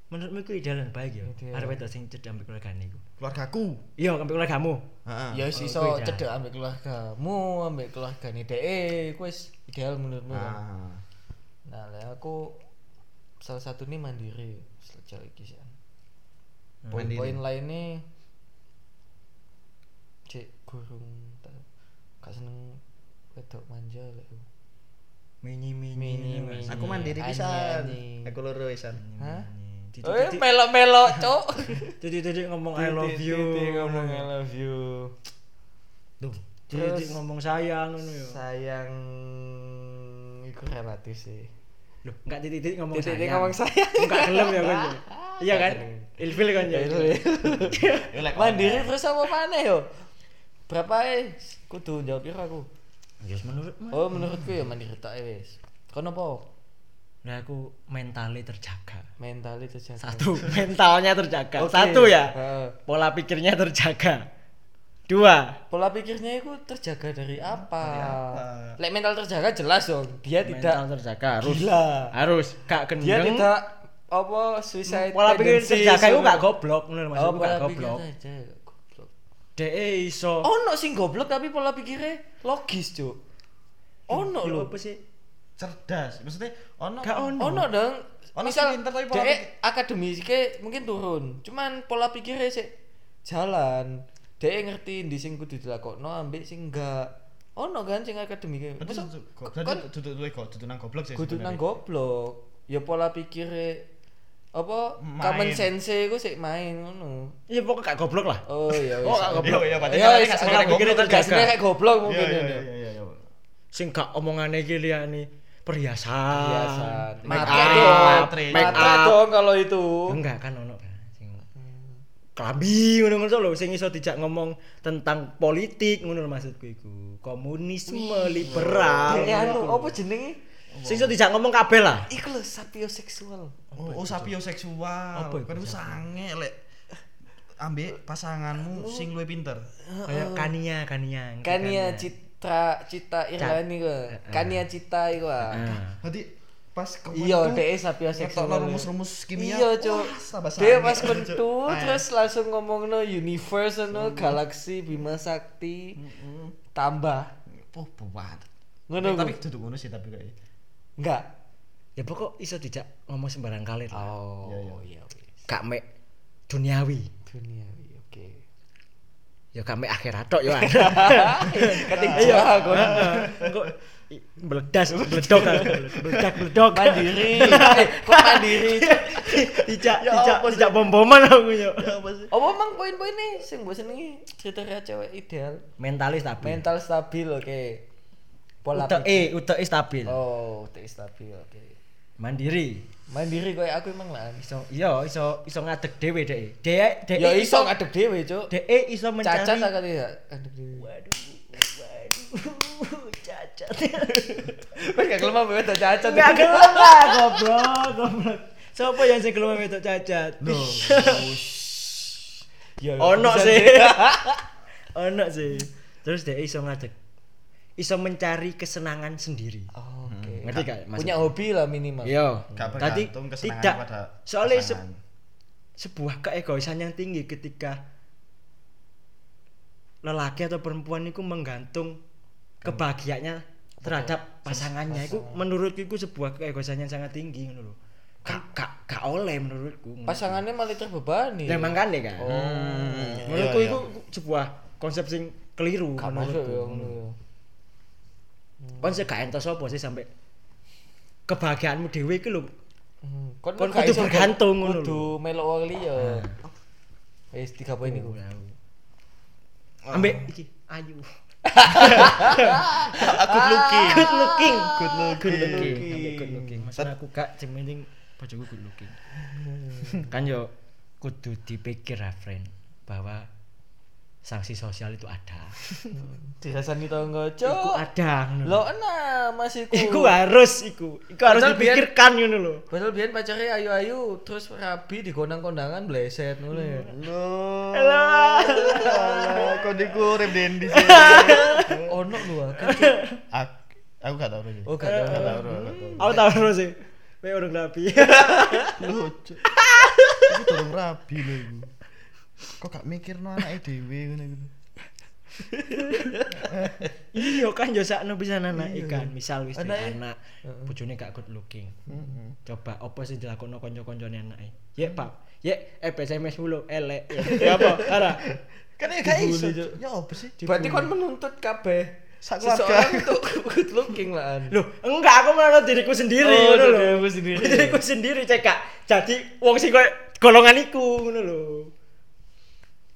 Speaker 2: menurutmu itu ideal dan baik ya
Speaker 3: Ideal.
Speaker 2: arep wedok sing cedhak ambek keluargane iku
Speaker 1: Keluargaku.
Speaker 2: iya ambek keluargamu
Speaker 1: Heeh.
Speaker 3: Ya wis
Speaker 2: Oh,
Speaker 3: iso
Speaker 2: kuwi dah.
Speaker 3: cedek ambek keluargamu, ambek keluargane dhek, kuwi wis ideal menurutmu kan.
Speaker 1: Ah.
Speaker 3: Nah, lah aku salah satu nih mandiri sejauh iki sih.
Speaker 2: Hmm.
Speaker 3: Poin-poin lainnya cek gurung tak gak seneng wedok manja lek. aku.
Speaker 2: mini mini
Speaker 3: Mini, mini.
Speaker 1: Aku mandiri
Speaker 3: Ani,
Speaker 1: pisan.
Speaker 3: ani.
Speaker 1: Aku loro pisan.
Speaker 2: Hmm.
Speaker 3: Hah? Eh,
Speaker 2: titik
Speaker 3: melok-melok, Cok.
Speaker 2: titik titik ngomong I love you
Speaker 3: Titik ngomong I love you.
Speaker 1: Tuh.
Speaker 2: titik
Speaker 3: Terus-
Speaker 2: ngomong sayang ngono ya
Speaker 3: Sayang iku relatif sih.
Speaker 2: Loh, enggak titik-titik ngomong
Speaker 3: Titik-titik
Speaker 2: sayang.
Speaker 3: ngomong sayang. Iya,
Speaker 2: Enggak gelem ya kan. Jo? Iya kan? Ilfil kan ya.
Speaker 1: Ya, lek
Speaker 3: Mandiri terus apa mana yo? Berapa eh? Kudu jawab piro aku.
Speaker 2: Ya menurutmu?
Speaker 3: Oh, menurutku ya mandiri tak eh, wis. Kon apa?
Speaker 2: Nah, aku mentalnya terjaga.
Speaker 3: Mentalnya terjaga.
Speaker 2: Satu, mentalnya terjaga.
Speaker 3: Oke.
Speaker 2: Satu ya.
Speaker 3: Heeh.
Speaker 2: Pola pikirnya terjaga. Dua,
Speaker 3: pola pikirnya itu terjaga dari apa? Lek mental terjaga jelas dong. Dia tidak
Speaker 2: mental terjaga harus.
Speaker 3: gila.
Speaker 2: Harus gak
Speaker 3: Dia
Speaker 2: gendeng.
Speaker 3: tidak apa suicide
Speaker 2: Pola pikir
Speaker 3: tendencies,
Speaker 2: terjaga itu gak
Speaker 3: ngono.
Speaker 2: goblok, menurut
Speaker 3: Oh,
Speaker 2: maksudku gak
Speaker 3: pola pikir Oh.
Speaker 2: goblok.
Speaker 3: terjaga gak goblok.
Speaker 2: DE iso.
Speaker 3: Ono sing goblok tapi pola pikirnya logis, Cuk. Ono
Speaker 2: Ya
Speaker 1: iya,
Speaker 3: lho.
Speaker 2: apa sih?
Speaker 1: cerdas. Maksudnya ono
Speaker 2: Gak ono.
Speaker 3: Ono dong.
Speaker 1: Ono sing
Speaker 3: Misal
Speaker 1: pinter tapi pola pikir-
Speaker 3: dek akademisnya mungkin turun, cuman pola pikirnya sih jalan. Dek ngerti di sing kudu dilakokno ambek sing enggak. Ono kan sing akademiknya.
Speaker 1: Berarti
Speaker 3: Masa
Speaker 1: duduk-
Speaker 3: kon-
Speaker 1: berarti duduk dulu kok, duduk nang goblok sih.
Speaker 3: kan kudu nang
Speaker 1: sebenarnya.
Speaker 3: goblok ya pola pikirnya apa
Speaker 1: Main.
Speaker 3: common sense iku sik main ngono
Speaker 2: Ya pokoknya gak goblok lah.
Speaker 3: oh iya
Speaker 2: Oh, gak
Speaker 1: Iya,
Speaker 2: goblok.
Speaker 1: iya, berarti
Speaker 3: ya
Speaker 1: kan gak
Speaker 3: wis pola
Speaker 1: sebenarnya
Speaker 2: goblok,
Speaker 3: pikirnya gak
Speaker 2: terjaga.
Speaker 3: sebenarnya kayak goblok
Speaker 1: Iya,
Speaker 3: mungkin
Speaker 1: iya,
Speaker 3: ya
Speaker 1: iya, iya, iya.
Speaker 2: Sing gak omongane iki liyane perhiasan.
Speaker 3: Perhiasan.
Speaker 2: Make
Speaker 3: Matre
Speaker 2: up,
Speaker 1: dong,
Speaker 2: make
Speaker 3: mata
Speaker 2: up.
Speaker 3: dong kalau itu
Speaker 2: enggak kan ono kan sing klambi ngono ngono lho sing iso dijak ngomong tentang politik ngono lho maksudku iku komunisme liberal
Speaker 3: ya
Speaker 2: ngono
Speaker 3: anu
Speaker 2: iku.
Speaker 3: apa jenenge
Speaker 2: sing iso dijak ngomong kabeh lah
Speaker 3: iku lho sapioseksual
Speaker 1: Oh, oh sapioseksual.
Speaker 2: Apa itu
Speaker 1: Kan iku sange lek ambek pasanganmu sing luwih pinter.
Speaker 2: kayak kania kania ngerti
Speaker 3: Kania Citra Cita Irlani ku Kania Cita iku ah
Speaker 2: Ah.
Speaker 1: Berarti pas kemarin
Speaker 3: iya
Speaker 1: tuh,
Speaker 3: DE sapioseksual
Speaker 1: ngetokno rumus-rumus kimia.
Speaker 3: iya cuk
Speaker 1: Wah, sabar
Speaker 3: dia
Speaker 1: sange.
Speaker 3: pas kentu
Speaker 1: Ah, ya.
Speaker 3: terus langsung ngomong no universe no galaksi bima sakti tambah
Speaker 1: Oh, buat.
Speaker 3: ngono
Speaker 1: Eh, Tapi
Speaker 3: Bu.
Speaker 1: duduk ngono sih tapi kayak.
Speaker 3: enggak
Speaker 2: ya pokok iso dijak ngomong sembarang kali lah
Speaker 3: oh
Speaker 1: Iya,
Speaker 3: iya wis
Speaker 2: gak mek duniawi
Speaker 3: dunia iya, oke
Speaker 2: ya gak mek akhirat tok ya ada
Speaker 3: Ah, iya, ketiga aku
Speaker 2: eh. Engko- i- meledas meledok meledak meledok
Speaker 3: mandiri Eh, kok mandiri Cuk?
Speaker 2: dijak
Speaker 3: Ya
Speaker 2: dijak dijak bom-boman aku yo
Speaker 3: apa emang poin-poin nih sing gue senengi kriteria cewek ideal
Speaker 2: mentalis tapi
Speaker 3: mental stabil oke pola
Speaker 2: Utek
Speaker 3: pikir
Speaker 2: e, utek e stabil.
Speaker 3: oh utek stabil oke
Speaker 2: Mandiri.
Speaker 3: mandiri kayak aku emang lah
Speaker 2: Iso iya iso iso ngadeg dhewe dhek. Dhek dhek
Speaker 3: ya iso ngadep dewe cuk
Speaker 2: Dhek e iso mencari
Speaker 3: cacat agak tidak ngadep dewe
Speaker 2: cacat.
Speaker 3: Wes gak kelem apa wes tak cacat.
Speaker 2: Enggak gelem lah goblok, goblok. Sopo yang sing gelem wedok cacat?
Speaker 3: Ya,
Speaker 2: Ono
Speaker 3: bisa
Speaker 2: sih. Ono sih. Terus dhek e iso ngadeg. Iso mencari kesenangan sendiri.
Speaker 3: Oh, Oke.
Speaker 2: Hmm, Ngerti gak maksud-
Speaker 3: Punya hobi lah minimal.
Speaker 2: Yo,
Speaker 1: Gak
Speaker 2: tadi
Speaker 1: bergantung kesenangan
Speaker 2: tidak
Speaker 1: pada
Speaker 2: soalnya se-
Speaker 1: pasangan.
Speaker 2: sebuah keegoisan yang tinggi ketika lelaki atau perempuan itu menggantung kebahagiaannya terhadap pasangannya itu menurutku itu sebuah keegoisan yang sangat tinggi ngono lho. Kak kak kak oleh menurutku.
Speaker 3: Pasangannya malah terbebani. Oh.
Speaker 2: Ya makane kan. Hmm. Menurutku itu sebuah konsep sing keliru
Speaker 3: Gak masuk ya
Speaker 2: menurutku.
Speaker 3: ngono ya.
Speaker 2: Konsep gak entos apa sih sampai kebahagiaanmu dhewe iki lho
Speaker 3: Hmm, Kon
Speaker 2: Kon
Speaker 3: gak
Speaker 2: kudu
Speaker 3: iso
Speaker 2: bergantung ngono Ah.
Speaker 3: Kudu melok wong liya. Wis tiga poin iku.
Speaker 2: ambek iki ayu.
Speaker 1: Aku looking.
Speaker 2: Good looking.
Speaker 1: Good
Speaker 2: good
Speaker 1: looking.
Speaker 2: looking. Sampai good looking. Masalah aku gak sing penting bojoku good looking. kan yo kudu dipikir lah friend ah, bahwa sanksi sosial itu ada.
Speaker 3: dirasani tau nggak
Speaker 2: Iku
Speaker 3: cok
Speaker 2: ada. ngono.
Speaker 3: lo enak masih ku
Speaker 2: Iku harus iku. Iku harus
Speaker 3: Padahal biar-
Speaker 2: dipikirkan ngono lho.
Speaker 3: Padahal biyen pacare ayu-ayu terus rabi digondang-kondangan bleset ngono ya.
Speaker 1: Loh.
Speaker 2: Alah.
Speaker 1: Alah, Kok dikurip Dendi sih.
Speaker 3: Ono lu akeh.
Speaker 1: Ak- Aku gak tau lagi.
Speaker 3: Hmm. Oh gak ada.
Speaker 1: Gak tau, bro, gak tau.
Speaker 2: Aku tahu terus sih. Mek urung rapi.
Speaker 1: lucu itu dorong rabi lho iku kok gak mikir no anaknya dewe ngono gitu
Speaker 2: Iya kan yo sakno bisa anak ikan. Misal wis duwe
Speaker 3: Anake-
Speaker 2: anak, bojone gak good looking. Coba apa sih dilakoni kanca-kancane anake? e? Yek, Pak. Yek, eh SMS mulu elek. Ya apa? Ara.
Speaker 1: kan ya gak iso
Speaker 3: Dibully, Cuk.
Speaker 1: ya apa sih
Speaker 3: Berarti kon menuntut kabeh
Speaker 1: Sekeluarga.
Speaker 3: seseorang untuk good looking lah. An.
Speaker 2: Loh, enggak aku menurut diriku sendiri
Speaker 3: Oh,
Speaker 2: ngono lho.
Speaker 3: dirimu sendiri.
Speaker 2: Diriku sendiri cek Kak. Jadi wong sing koyo golongan iku ngono lho.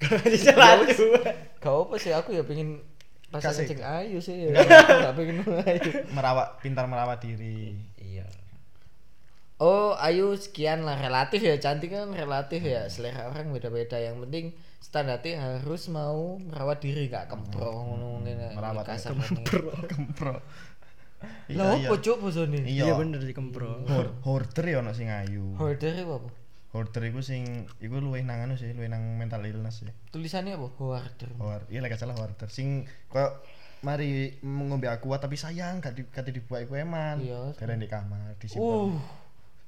Speaker 2: Golongan celatu.
Speaker 3: Gak apa sih aku ya pengen pasangan
Speaker 1: Kasih.
Speaker 3: sing ayu sih. ya. Aku Gak pengen ayu.
Speaker 1: merawat pintar merawat diri
Speaker 3: Iya. Oh, ayu sekian lah relatif ya cantik kan relatif ya selera orang beda-beda yang penting standarnya harus mau merawat diri gak kempro ngono ngene
Speaker 1: Hmm. Merawat, ya,
Speaker 3: kasar kempro
Speaker 1: bro kempro
Speaker 3: lah opo cuk bosone
Speaker 1: iya
Speaker 2: bener dikempro.
Speaker 1: Hor- hoarder ya ono sing ayu
Speaker 3: Hoarder itu apa?
Speaker 1: hoarder iku sing iku luwih nang anu sih luwih nang mental illness sih
Speaker 3: Tulisannya apa? Hoarder.
Speaker 1: hoarder iya lek gak salah hoarder sing koyo mari ngombe aqua tapi sayang gak di, gak dibuat iku eman
Speaker 3: Iya.
Speaker 1: Dereng di kamar disimpan
Speaker 3: Uh,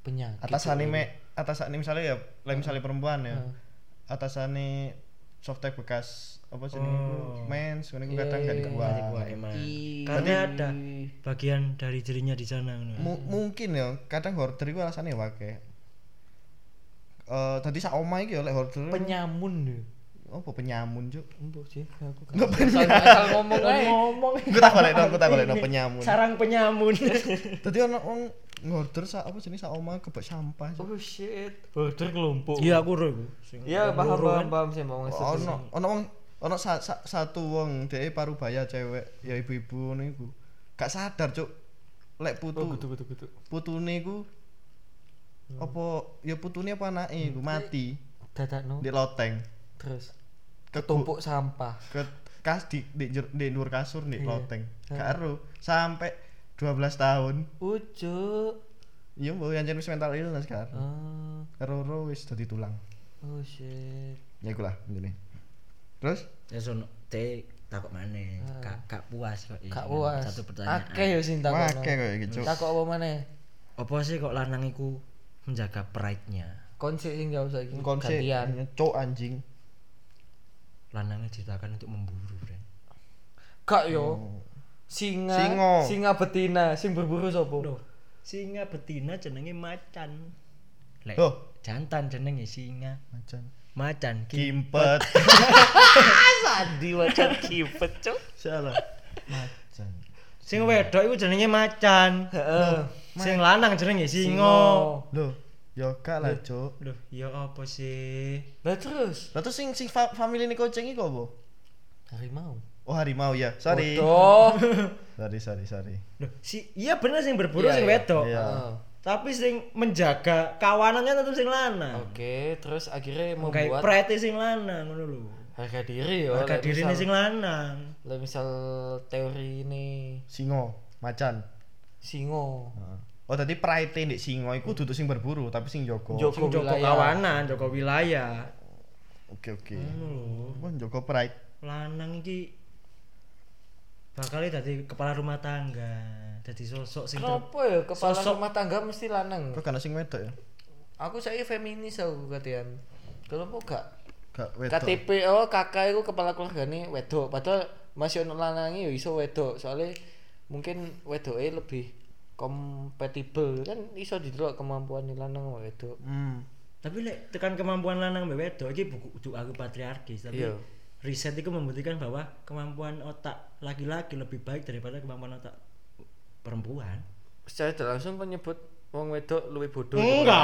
Speaker 3: penyakit.
Speaker 1: atas anime atas anime misalnya ya like misalnya perempuan ya atas anime softtek bekas apa sih oh. mens ngono iku kadang gak iya. dibuat
Speaker 2: Iya, emang.
Speaker 3: Ih.
Speaker 2: Karena ada bagian dari dirinya di sana ngono.
Speaker 1: Mu- mungkin ya kadang hoarder iku alasannya ya wae Eh tadi sak omah iki ya lek hoarder
Speaker 3: Penyamun deh.
Speaker 1: apa penyamun cuk
Speaker 3: Embo sih, aku
Speaker 1: Nggak
Speaker 3: kan. Asal, asal ngomong aja.
Speaker 2: Ngomong.
Speaker 1: Gue tak balik dong, gue tak balik dong, penyamun.
Speaker 2: Sarang penyamun.
Speaker 1: tadi ono wong ngorder sak apa jenis sak omah kebak sampah Cuk.
Speaker 3: Oh shit. Hoarder kelompok.
Speaker 2: Iya aku ro iku.
Speaker 3: Iya, paham paham paham sih mau maksud.
Speaker 1: Oh, ono ono wong ono sa, sa- satu wong dhek parubaya cewek ya ibu-ibu ngono iku gak sadar cuk lek putu
Speaker 3: Kutu kutu kutu.
Speaker 1: putune iku
Speaker 3: Hmm.
Speaker 1: apa ya putune apa anake iku mati
Speaker 3: Dadak no.
Speaker 1: di loteng
Speaker 3: Terus
Speaker 1: ketumpuk
Speaker 3: tumpuk sampah.
Speaker 1: ke kas di di, jer- di nur kasur di
Speaker 3: Iya.
Speaker 1: loteng gak
Speaker 3: Heeh.
Speaker 1: ero sampai 12 tahun
Speaker 3: Ujuk.
Speaker 1: iya mbok yang jenis mental illness kan
Speaker 3: Ah,
Speaker 1: ero wis dadi tulang
Speaker 3: oh shit.
Speaker 1: ya iku lah ngene terus
Speaker 2: Ya sono te takok maneh. Kak kak puas kok.
Speaker 3: Kak Ah. puas.
Speaker 2: Iya, Satu pertanyaan.
Speaker 3: Akeh yo sing takokno.
Speaker 1: Akeh kok iki, Cuk.
Speaker 3: Takok apa maneh?
Speaker 2: Apa sih kok lanang iku menjaga pride-nya?
Speaker 3: Konsep sing jauh saiki.
Speaker 1: konsep
Speaker 3: Gantian.
Speaker 1: cok anjing
Speaker 2: Lanangnya diciptakan untuk memburu, Ren.
Speaker 3: Kak yo. Singa,
Speaker 1: Singo.
Speaker 3: singa betina, sing berburu sopo?
Speaker 2: Singa betina jenenge macan. Lek
Speaker 1: Loh.
Speaker 2: jantan jenenge singa.
Speaker 1: macan
Speaker 2: Macan ki.
Speaker 1: kimpet
Speaker 3: Sadi macan kipet, Cuk.
Speaker 1: salah macan
Speaker 2: Sing wedok iku jenenge macan.
Speaker 3: Heeh.
Speaker 2: Sing lanang jenenge singa.
Speaker 3: Singo.
Speaker 1: Loh, yo gak lah, Cuk.
Speaker 2: Loh, ya apa sih?
Speaker 3: Lah terus
Speaker 1: Lah terus sing sing fa family ini kucing iku apa?
Speaker 3: harimau.
Speaker 1: Oh, harimau ya. Sorry.
Speaker 3: Bodoh.
Speaker 1: Sorry, sorry, sorry.
Speaker 2: Loh, si iya bener sing berburu
Speaker 3: Iya,
Speaker 2: sing
Speaker 3: iya.
Speaker 2: wedok.
Speaker 1: Iya.
Speaker 3: Heeh.
Speaker 2: Tapi sing menjaga kawanannya tetep sing lanang.
Speaker 3: Oke, terus akhirnya
Speaker 2: Kayak
Speaker 3: membuat
Speaker 2: pride sing lanang ngono lho.
Speaker 3: harga diri yo.
Speaker 2: Harga
Speaker 3: Lah,
Speaker 2: dirine
Speaker 3: misal-
Speaker 2: sing lanang.
Speaker 3: lah, misal teori ini
Speaker 1: Singo, macan.
Speaker 3: singo.
Speaker 1: Oh, tadi pride ndek singo iku duduk sing berburu tapi sing jaga.
Speaker 3: Jog-
Speaker 2: Sing
Speaker 3: Joko
Speaker 2: Joko
Speaker 3: wilayah.
Speaker 2: kawanan, Joko wilayah.
Speaker 1: Oke, oke. Wah, jaga pride.
Speaker 2: lanang iki bakal dadi kepala rumah tangga dadi sosok sing ter-
Speaker 3: Kenapa ya kepala
Speaker 2: Sosok-
Speaker 3: rumah tangga mesti lanang?
Speaker 1: Kok kana sing wedok ya?
Speaker 3: Aku saya feminis aku katian. Kalau mau gak
Speaker 1: Gak wedok.
Speaker 3: KTP oh kakak iku kepala keluargane wedok padahal masih ono lanange yo iso wedok soalnya mungkin wedoke lebih kompatibel kan iso didelok kemampuan lanang sama wedok
Speaker 1: Hmm.
Speaker 2: tapi lek tekan kemampuan lanang mbek wedok iki buku buku aku patriarkis tapi
Speaker 3: Iya.
Speaker 2: riset itu membuktikan bahwa kemampuan otak laki-laki lebih baik daripada kemampuan otak perempuan
Speaker 3: secara tidak langsung kau nyebut wong wedok luwih bodoh
Speaker 2: enggak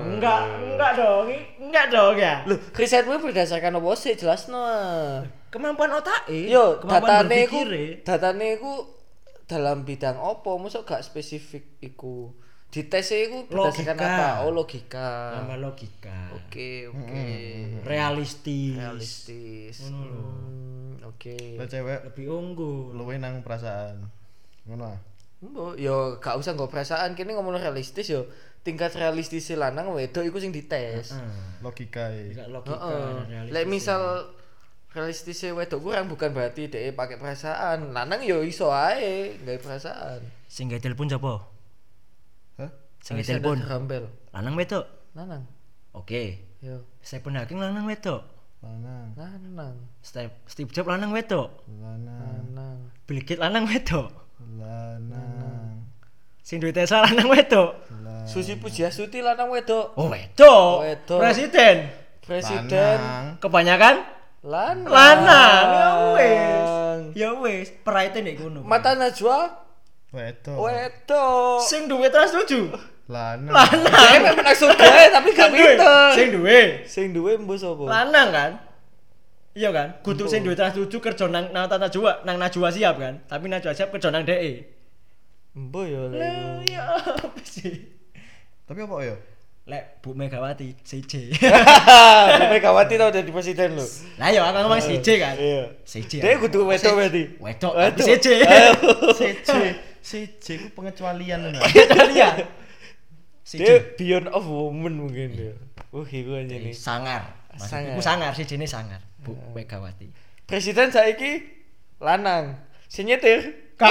Speaker 2: enggak dong enggak dong ya
Speaker 3: Loh, risetmu berdasarkan apa sih jelas no
Speaker 2: kemampuan otak
Speaker 3: yo
Speaker 2: kemampuan
Speaker 3: datane iku
Speaker 4: ya.
Speaker 2: berpikir
Speaker 3: datane iku dalam bidang apa mosok gak spesifik iku di tes iku berdasarkan
Speaker 4: Logika. Hmm.
Speaker 3: apa oh logika
Speaker 4: Tambah logika.
Speaker 3: oke oke
Speaker 4: Realistis.
Speaker 3: realistis
Speaker 4: hmm, Ngono lho.
Speaker 3: Hmm, oke
Speaker 1: Lah cewek
Speaker 4: Lebih unggul.
Speaker 1: luwe nang perasaan. Ngono ah.
Speaker 3: Mbok, yo gak usah nggo perasaan kene ngomong realistis yo tingkat realistis e lanang wedok iku sing dites
Speaker 1: Logikae.
Speaker 4: Enggak Ah, logika.
Speaker 3: Heeh.
Speaker 4: dan realistis. e.
Speaker 3: Lek misal realistis e wedok kurang bukan berarti dhek e pakai perasaan. Lanang yo iso ae gawe perasaan.
Speaker 2: Sing gawe telepon sapa?
Speaker 1: Hah?
Speaker 2: Sing gawe
Speaker 3: Alexander
Speaker 2: telepon.
Speaker 3: Graham-Bell.
Speaker 2: Lanang wedok.
Speaker 3: Lanang.
Speaker 2: Oke.
Speaker 3: Yo,
Speaker 2: Stephen Hawking lanang wedok.
Speaker 1: Lanang,
Speaker 3: lanang.
Speaker 2: Step- Steve Jobs lanang wedok.
Speaker 1: lanang,
Speaker 3: Lanang.
Speaker 2: Bill Gates lanang wedok.
Speaker 1: lanang.
Speaker 2: Sing duwe Tesla lanang wedok.
Speaker 3: Susi Pujiastuti lanang wedok.
Speaker 2: Oh, wedok.
Speaker 3: Wedok.
Speaker 2: Presiden.
Speaker 3: Presiden
Speaker 2: Kebanyakan
Speaker 3: lanang.
Speaker 2: lanang. Ya wis. Ya wis, praite nek ngono.
Speaker 3: Mata Najwa
Speaker 1: Wedo.
Speaker 3: wedok.
Speaker 2: Sing duwe Trans 7.
Speaker 1: Lanang.
Speaker 3: Dhek memang maksud gawe tapi gak pinter.
Speaker 2: Sing duwe.
Speaker 3: Sing duwe mbok sapa?
Speaker 2: Lanang kan? Iya kan? Kudu sing duwe Trans 7 kerja nang nang tata Najwa, nang Najwa siap kan? Tapi Najwa siap kerja nang DE.
Speaker 3: Mbok yo lek. iku.
Speaker 2: Iya, apa sih?
Speaker 1: Tapi apa ya?
Speaker 2: Lek Bu Megawati CJ.
Speaker 3: Hahaha, Megawati tau jadi presiden lo.
Speaker 2: Lah yo aku ngomong CJ kan.
Speaker 3: Iya.
Speaker 2: CJ.
Speaker 3: Dia kudu wedok berarti.
Speaker 2: Wedok,
Speaker 3: Wedok.
Speaker 2: tapi CJ.
Speaker 1: CJ, CJ ku pengecualian nah.
Speaker 2: Iya.
Speaker 3: Dia
Speaker 2: CJ.
Speaker 3: beyond of woman mungkin
Speaker 2: Iya.
Speaker 3: dia. Uh, iku aja nih.
Speaker 2: Eh, Sangar.
Speaker 3: Sangar.
Speaker 2: Maksudku sangar, CJ ini sangar. Bu Megawati.
Speaker 3: Presiden saiki lanang. Sing nyetir.
Speaker 2: Kau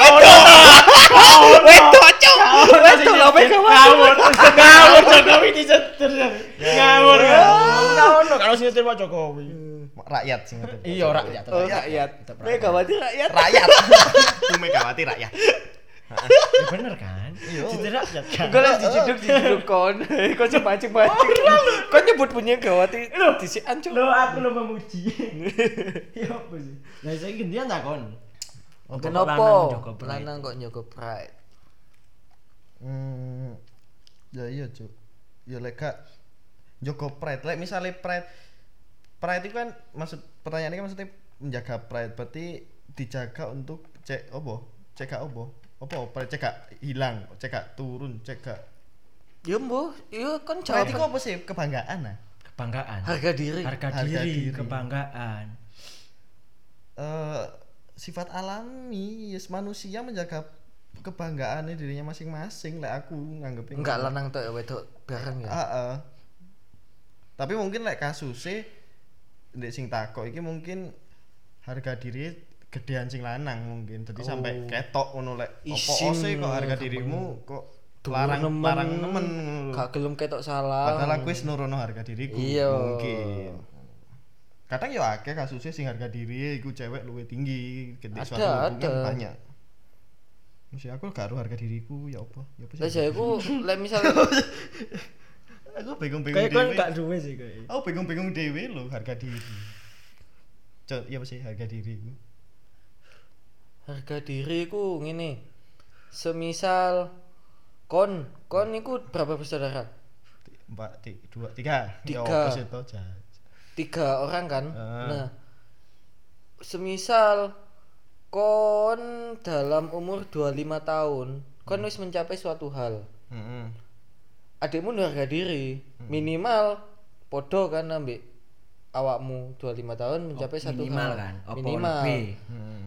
Speaker 3: Wedok cuk. Wedok lo
Speaker 2: ngawur
Speaker 3: Megawati.
Speaker 2: ngawur Jokowi disetir ngawur ngawur kalau nyetir Pak Jokowi
Speaker 3: Hmm.
Speaker 1: Rakyat sing ngerti.
Speaker 2: iya rakyat
Speaker 3: Oh, rakyat.
Speaker 2: Tetep rakyat.
Speaker 3: Megawati rakyat.
Speaker 1: Rakyat. Bu Megawati rakyat.
Speaker 2: Ya bener kan
Speaker 3: Iya.
Speaker 2: nyetir rakyat kan
Speaker 3: Gue lagi diciduk diciduk kon. Kau cuma mancing mancing. Kau nyebut punya Megawati. Disian cuk.
Speaker 2: lo aku lo memuji ya apa sih Oh, nah saya gantian tak kon
Speaker 3: Kenapa?
Speaker 2: Lanang Jokowi.
Speaker 3: Lanang kok njogo pride.
Speaker 1: Hmm. Ya iya, Cuk. Ya lek gak Joko pride, lek misale pride pride itu kan maksud pertanyaannya kan maksudnya menjaga pride berarti dijaga untuk cek obo, cek gak obo. Apa pride cek gak hilang, cek gak turun, cek gak.
Speaker 3: Yo mbok, yo kon
Speaker 1: Pride itu
Speaker 3: jawab. kan.
Speaker 1: apa sih? Kebanggaan nah.
Speaker 2: kebanggaan
Speaker 3: Harga diri.
Speaker 2: harga
Speaker 1: Harga diri.
Speaker 2: diri kebanggaan
Speaker 1: eh sifat alami yes, manusia menjaga kebanggaannya dirinya masing-masing lah aku gitu. nganggep
Speaker 3: Enggak lanang tok ya wedok bareng ya.
Speaker 1: tapi mungkin lek kasusnya ndek sing takok iki mungkin harga diri gedean sing lanang mungkin jadi sampai ketok ngono lek opo
Speaker 3: Oh. Isin
Speaker 1: sih kok
Speaker 3: ngono,
Speaker 1: harga
Speaker 3: gampang.
Speaker 1: dirimu kok
Speaker 3: Dhuwur
Speaker 1: larang larang nemen ngono lho.
Speaker 3: Gak gelem ketok salah.
Speaker 1: padahal aku wis nurono harga diriku
Speaker 3: Iya.
Speaker 1: mungkin kadang ya akeh kasusnya sing harga diri iku cewek luwe tinggi gede
Speaker 3: Ada,
Speaker 1: suatu hubungan
Speaker 3: ada.
Speaker 1: banyak mesti aku gak aruh harga diriku ya apa ya apa
Speaker 3: Lah
Speaker 1: sih
Speaker 3: ya aku lek misalnya
Speaker 1: aku bingung-bingung
Speaker 2: kayak kon
Speaker 1: dhewe
Speaker 2: gak duwe sih kayak
Speaker 1: aku bingung-bingung dhewe lho harga diri Cok, iya apa sih harga diriku
Speaker 3: harga diriku ngene. Semisal kon kon iku berapa bersaudara?
Speaker 1: Ti- empat ti- dua tiga
Speaker 3: Tiga.
Speaker 1: Ya apa sih toh, Jan?
Speaker 3: Tiga orang kan?
Speaker 1: Ah.
Speaker 3: Nah. Semisal kon dalam umur 25 tahun, kon
Speaker 2: Hmm.
Speaker 3: wis mencapai suatu hal.
Speaker 1: Mm-mm.
Speaker 3: adikmu nduwe harga diri
Speaker 2: Hmm.
Speaker 3: minimal podo kan ambek awakmu 25 tahun mencapai satu
Speaker 2: minimal
Speaker 3: hal.
Speaker 2: kan apa
Speaker 3: minimal
Speaker 2: lebih
Speaker 1: Mm-mm.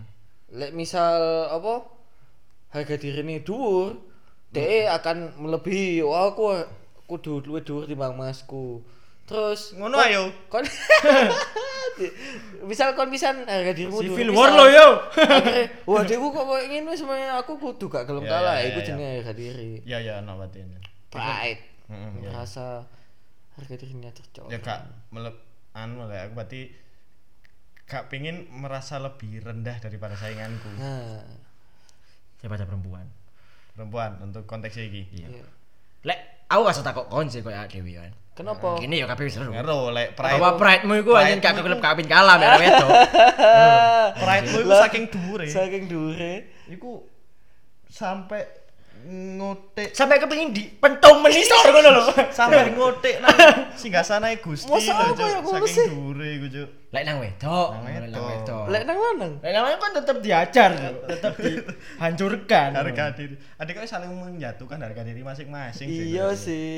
Speaker 3: lek misal apa harga diri ini dhuwur de
Speaker 2: Hmm.
Speaker 3: akan melebihi wah aku kudu luwih dhuwur timbang masku terus
Speaker 1: ngono
Speaker 3: kon-
Speaker 1: ayo
Speaker 3: kon misal kon pisan eh, harga dirimu dhuwur
Speaker 2: Civil
Speaker 3: pisan.
Speaker 2: War lo yo
Speaker 3: Akhirnya, wah adikmu kok koyo ngene semuanya aku kudu gak gelem
Speaker 1: Ya, ya,
Speaker 3: kalah
Speaker 1: ya,
Speaker 3: iku
Speaker 1: ya.
Speaker 3: jenenge harga diri
Speaker 1: ya ya no batin
Speaker 3: pride
Speaker 1: Mm-mm, ya.
Speaker 3: merasa harga dirinya tercoreng
Speaker 1: ya kak melep anu lah aku berarti kak pengen merasa lebih rendah daripada sainganku
Speaker 3: nah
Speaker 2: daripada perempuan
Speaker 1: perempuan untuk konteks iki
Speaker 3: iya.
Speaker 2: lek aku kasih takok kon sih kayak dewi kan
Speaker 3: kenapa
Speaker 2: Gini ya kabeh seru.
Speaker 1: ngero lek pride
Speaker 2: Bahwa pride-mu iku anjen gak kekelep kabin kalah mek wedok.
Speaker 1: pride mu iku
Speaker 3: Lah.
Speaker 1: saking dhuwure
Speaker 3: saking dure
Speaker 1: iku sampai ngotek
Speaker 2: sampai kepengin di pentung menisor ngono lho.
Speaker 1: sampai ngotek nang singgasanae Gusti
Speaker 3: Masa
Speaker 1: lho,
Speaker 3: apa
Speaker 1: Cuk.
Speaker 3: ya, kok ngono sih?
Speaker 1: Saking dure iku, Cuk.
Speaker 2: Lek nang wedok,
Speaker 1: Nang
Speaker 2: ngono,
Speaker 1: wedok.
Speaker 3: Lek nang lanang.
Speaker 2: Lek namanya kan tetap diajar, tetap dihancurkan.
Speaker 1: Harga diri. Adik kok saling menjatuhkan harga diri masing-masing.
Speaker 3: Iya
Speaker 1: Cuk.
Speaker 3: sih.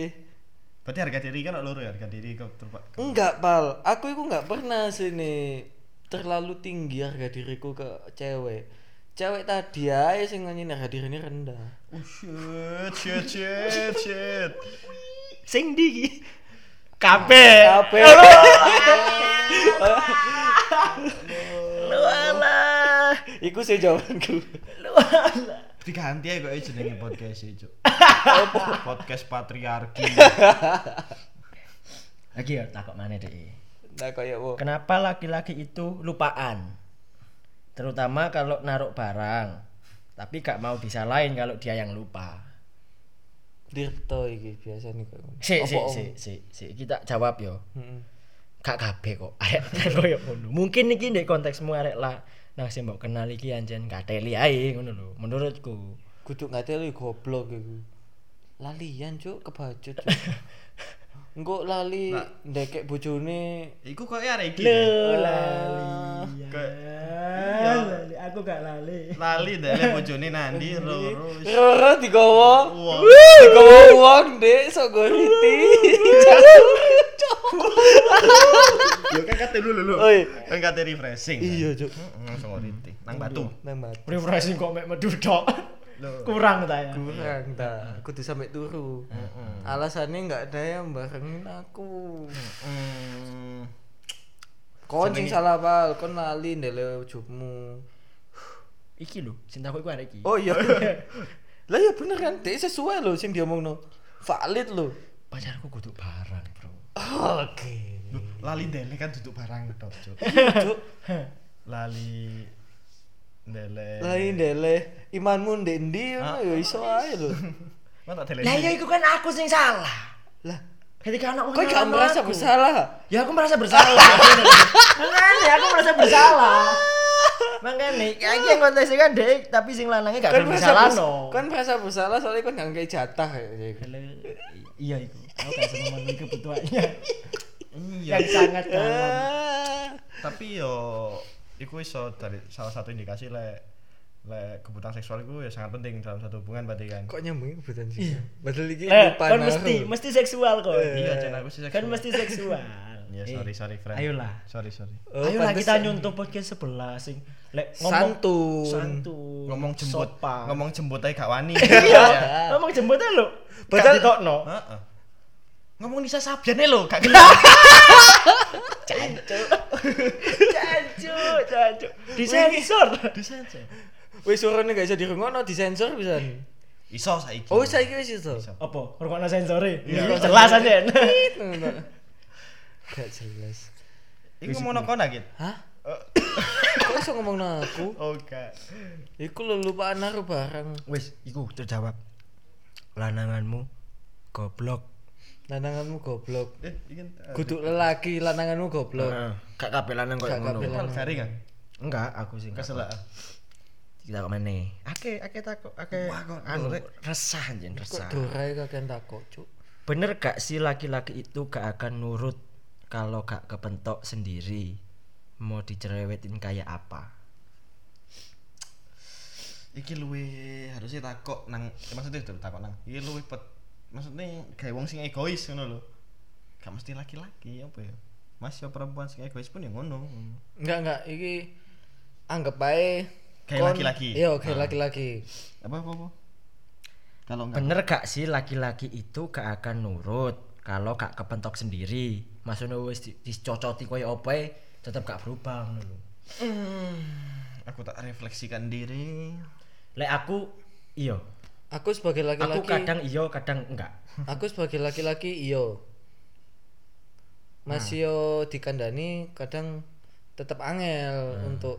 Speaker 1: Berarti harga diri kan loro ya, harga diri kok terpa-
Speaker 3: Enggak, Pal. Aku itu enggak pernah sini terlalu tinggi harga diriku ke cewek. Cewek tadi aja sing nganyin harga diri ini rendah.
Speaker 1: Oh shit, shit, shit, shit.
Speaker 2: Sing ndi iki?
Speaker 1: Eh,
Speaker 2: Kabeh.
Speaker 3: Apa?
Speaker 2: Lu alah.
Speaker 3: Iku sih jawabanku.
Speaker 1: Diganti aja kok jenenge podcast e, Cuk. Podcast patriarki.
Speaker 2: Lagi ya takok mana deh.
Speaker 3: Nah, kayak wo.
Speaker 2: Kenapa laki-laki itu lupaan? Terutama kalau naruh barang. Tapi gak mau disalahin kalau dia yang lupa.
Speaker 3: Dirto iki biasa nih kayak.
Speaker 2: Si, si, si, si, si. Kita jawab yo. Gak kabeh kok. Arek koyo ngono. Mungkin iki ndek konteksmu arek lah nang sing mbok kenal iki anjen gateli ae ngono lho menurutku.
Speaker 3: Kudu ngate lu goblok iku. Lalian, Cuk, kebacut, Cuk. Engko lali ndekek bojone
Speaker 1: Iku kok ya iki.
Speaker 2: Lo
Speaker 1: Kayak-
Speaker 2: lali. Aku gak lali.
Speaker 1: Lali ndek bojone nandi loro.
Speaker 3: Roro digowo.
Speaker 1: Wah.
Speaker 3: Digowo wong, Dek, sok goriti.
Speaker 1: Yo kan kate lu lho.
Speaker 3: Oi.
Speaker 1: Kan kate refreshing. kan.
Speaker 3: Iya, Cuk.
Speaker 1: Heeh, langsung ngoriti. Nang batu.
Speaker 3: Nang mati.
Speaker 2: Refreshing kok mek medu tok.
Speaker 1: Lho.
Speaker 2: Kurang ta ya.
Speaker 3: Kurang ta, kudu sampe turu. Alasannya nggak ada yang barengin aku.
Speaker 1: Hmm.
Speaker 3: Kon sing salah pal, kon lali ndele jobmu.
Speaker 2: Iki lho, cintaku iku arek iki.
Speaker 3: Oh iya. Lah ya bener kan, Dek sesuai lho sing diomongno. Valid lho.
Speaker 2: Pacarku kudu barang, Bro.
Speaker 3: Oke.
Speaker 1: Loh, Lali ndele kan duduk barang tok, Cuk.
Speaker 3: Cuk,
Speaker 1: Lali ndele.
Speaker 3: lain ndele imanmu ndek ndi
Speaker 2: Ah.
Speaker 3: ngono ya iso ae lho.
Speaker 1: Mana tak
Speaker 2: Lah ya
Speaker 1: dele.
Speaker 2: iku kan aku sing salah.
Speaker 3: Lah,
Speaker 2: Ketika anak
Speaker 3: kok gak merasa bersalah?
Speaker 2: Ya aku gitu. merasa bersalah. Makanya aku merasa bersalah. Makanya ya iki yang kontesnya kan Dek, tapi sing lanangnya gak
Speaker 3: Kan
Speaker 2: kan
Speaker 3: merasa
Speaker 2: bersalah
Speaker 3: bers-
Speaker 2: no.
Speaker 3: Kan merasa bersalah soalnya kan gak kayak jatah ya. Jack.
Speaker 2: Iya iku. Aku gak seneng memenuhi kebutuhannya.
Speaker 1: Iya.
Speaker 2: Yang sangat dalam.
Speaker 3: Ah.
Speaker 1: tapi yo iku iso dari salah satu indikasi lek lek kebutuhan seksual iku ya sangat penting dalam satu hubungan berarti kan
Speaker 3: Kok nyambungnya kebutuhan sih? Padahal ini
Speaker 2: Eh,
Speaker 3: lupa
Speaker 2: kan
Speaker 3: naruh.
Speaker 2: mesti mesti seksual kok.
Speaker 1: Iya, Cen, aku sih seksual.
Speaker 2: Kan Eh, mesti seksual.
Speaker 1: ya
Speaker 2: Eh,
Speaker 1: sorry sorry friend
Speaker 2: Ayolah.
Speaker 1: sorry sorry
Speaker 3: Oh,
Speaker 2: ayolah kita
Speaker 3: pantesan.
Speaker 2: nyontoh podcast sebelah sing lek
Speaker 3: Santun.
Speaker 2: santun,
Speaker 1: ngomong jembut
Speaker 2: sopan.
Speaker 1: ngomong jembut aja gak wani
Speaker 2: Uh, iya. Ngomong jembut aja lho.
Speaker 3: Padahal-
Speaker 2: Padahal ditokno.
Speaker 1: Heeh. ngomong Nisa Sabjane lo gak
Speaker 2: Iya.
Speaker 1: kenal
Speaker 2: Jancuk, jancuk. Disensor.
Speaker 1: disensor
Speaker 3: Wis suarane gak bisa dirungokno, disensor bisa.
Speaker 2: Iya.
Speaker 1: iso saiki
Speaker 3: Oh, saiki wis iso.
Speaker 1: Iso.
Speaker 2: Apa? Rungokno sensore.
Speaker 1: Iya.
Speaker 2: Iya, jelas aja.
Speaker 3: Tit, ngono. Gak jelas.
Speaker 1: iku ngomong kono gitu
Speaker 3: Hah? Kok iso ngomong aku?
Speaker 1: oh gak
Speaker 3: Iku lho lupa naruh barang.
Speaker 2: Wis, iku terjawab. Lananganmu goblok.
Speaker 3: Lananganmu goblok.
Speaker 1: eh ingin
Speaker 3: Kudu lelaki lananganmu goblok.
Speaker 2: Kak Nah, kabeh lanang koyo
Speaker 3: Gak kabeh
Speaker 2: ngono.
Speaker 3: lanang.
Speaker 1: kari kan
Speaker 2: Enggak, aku sih. enggak.
Speaker 1: kesel ah.
Speaker 2: Kita kok meneh. Ake, ake takok, ake.
Speaker 1: Wah, kok-
Speaker 2: Anu resah anjen,
Speaker 3: Kok
Speaker 2: resah.
Speaker 3: dorai kakean takok, Cuk.
Speaker 2: Bener gak sih laki-laki itu gak akan nurut kalau gak kepentok sendiri? Mau dicerewetin kayak apa?
Speaker 1: iki luwe harusnya takok nang eh, maksudnya itu takok nang iki luwe pet maksudnya kayak wong sing egois ngono lho gak mesti laki-laki apa ya mas ya perempuan sing egois pun yang ngono
Speaker 3: Enggak, enggak, iki anggap bae
Speaker 1: Kayak
Speaker 3: kon-
Speaker 1: laki-laki. Ah.
Speaker 3: Iya, kayak laki-laki.
Speaker 1: apa apa, apa? kalau enggak
Speaker 2: Bener gak sih laki-laki itu gak akan nurut kalau gak kepentok sendiri? Maksudnya wis di- dicocoti koyo apa e, tetep gak berubah ngono lho.
Speaker 1: aku tak refleksikan diri
Speaker 2: Lek aku iya,
Speaker 3: Aku sebagai
Speaker 2: aku
Speaker 3: laki-laki
Speaker 2: kadang iya, kadang enggak.
Speaker 3: aku sebagai laki-laki iyo masih yo dikandani kadang tetap angel untuk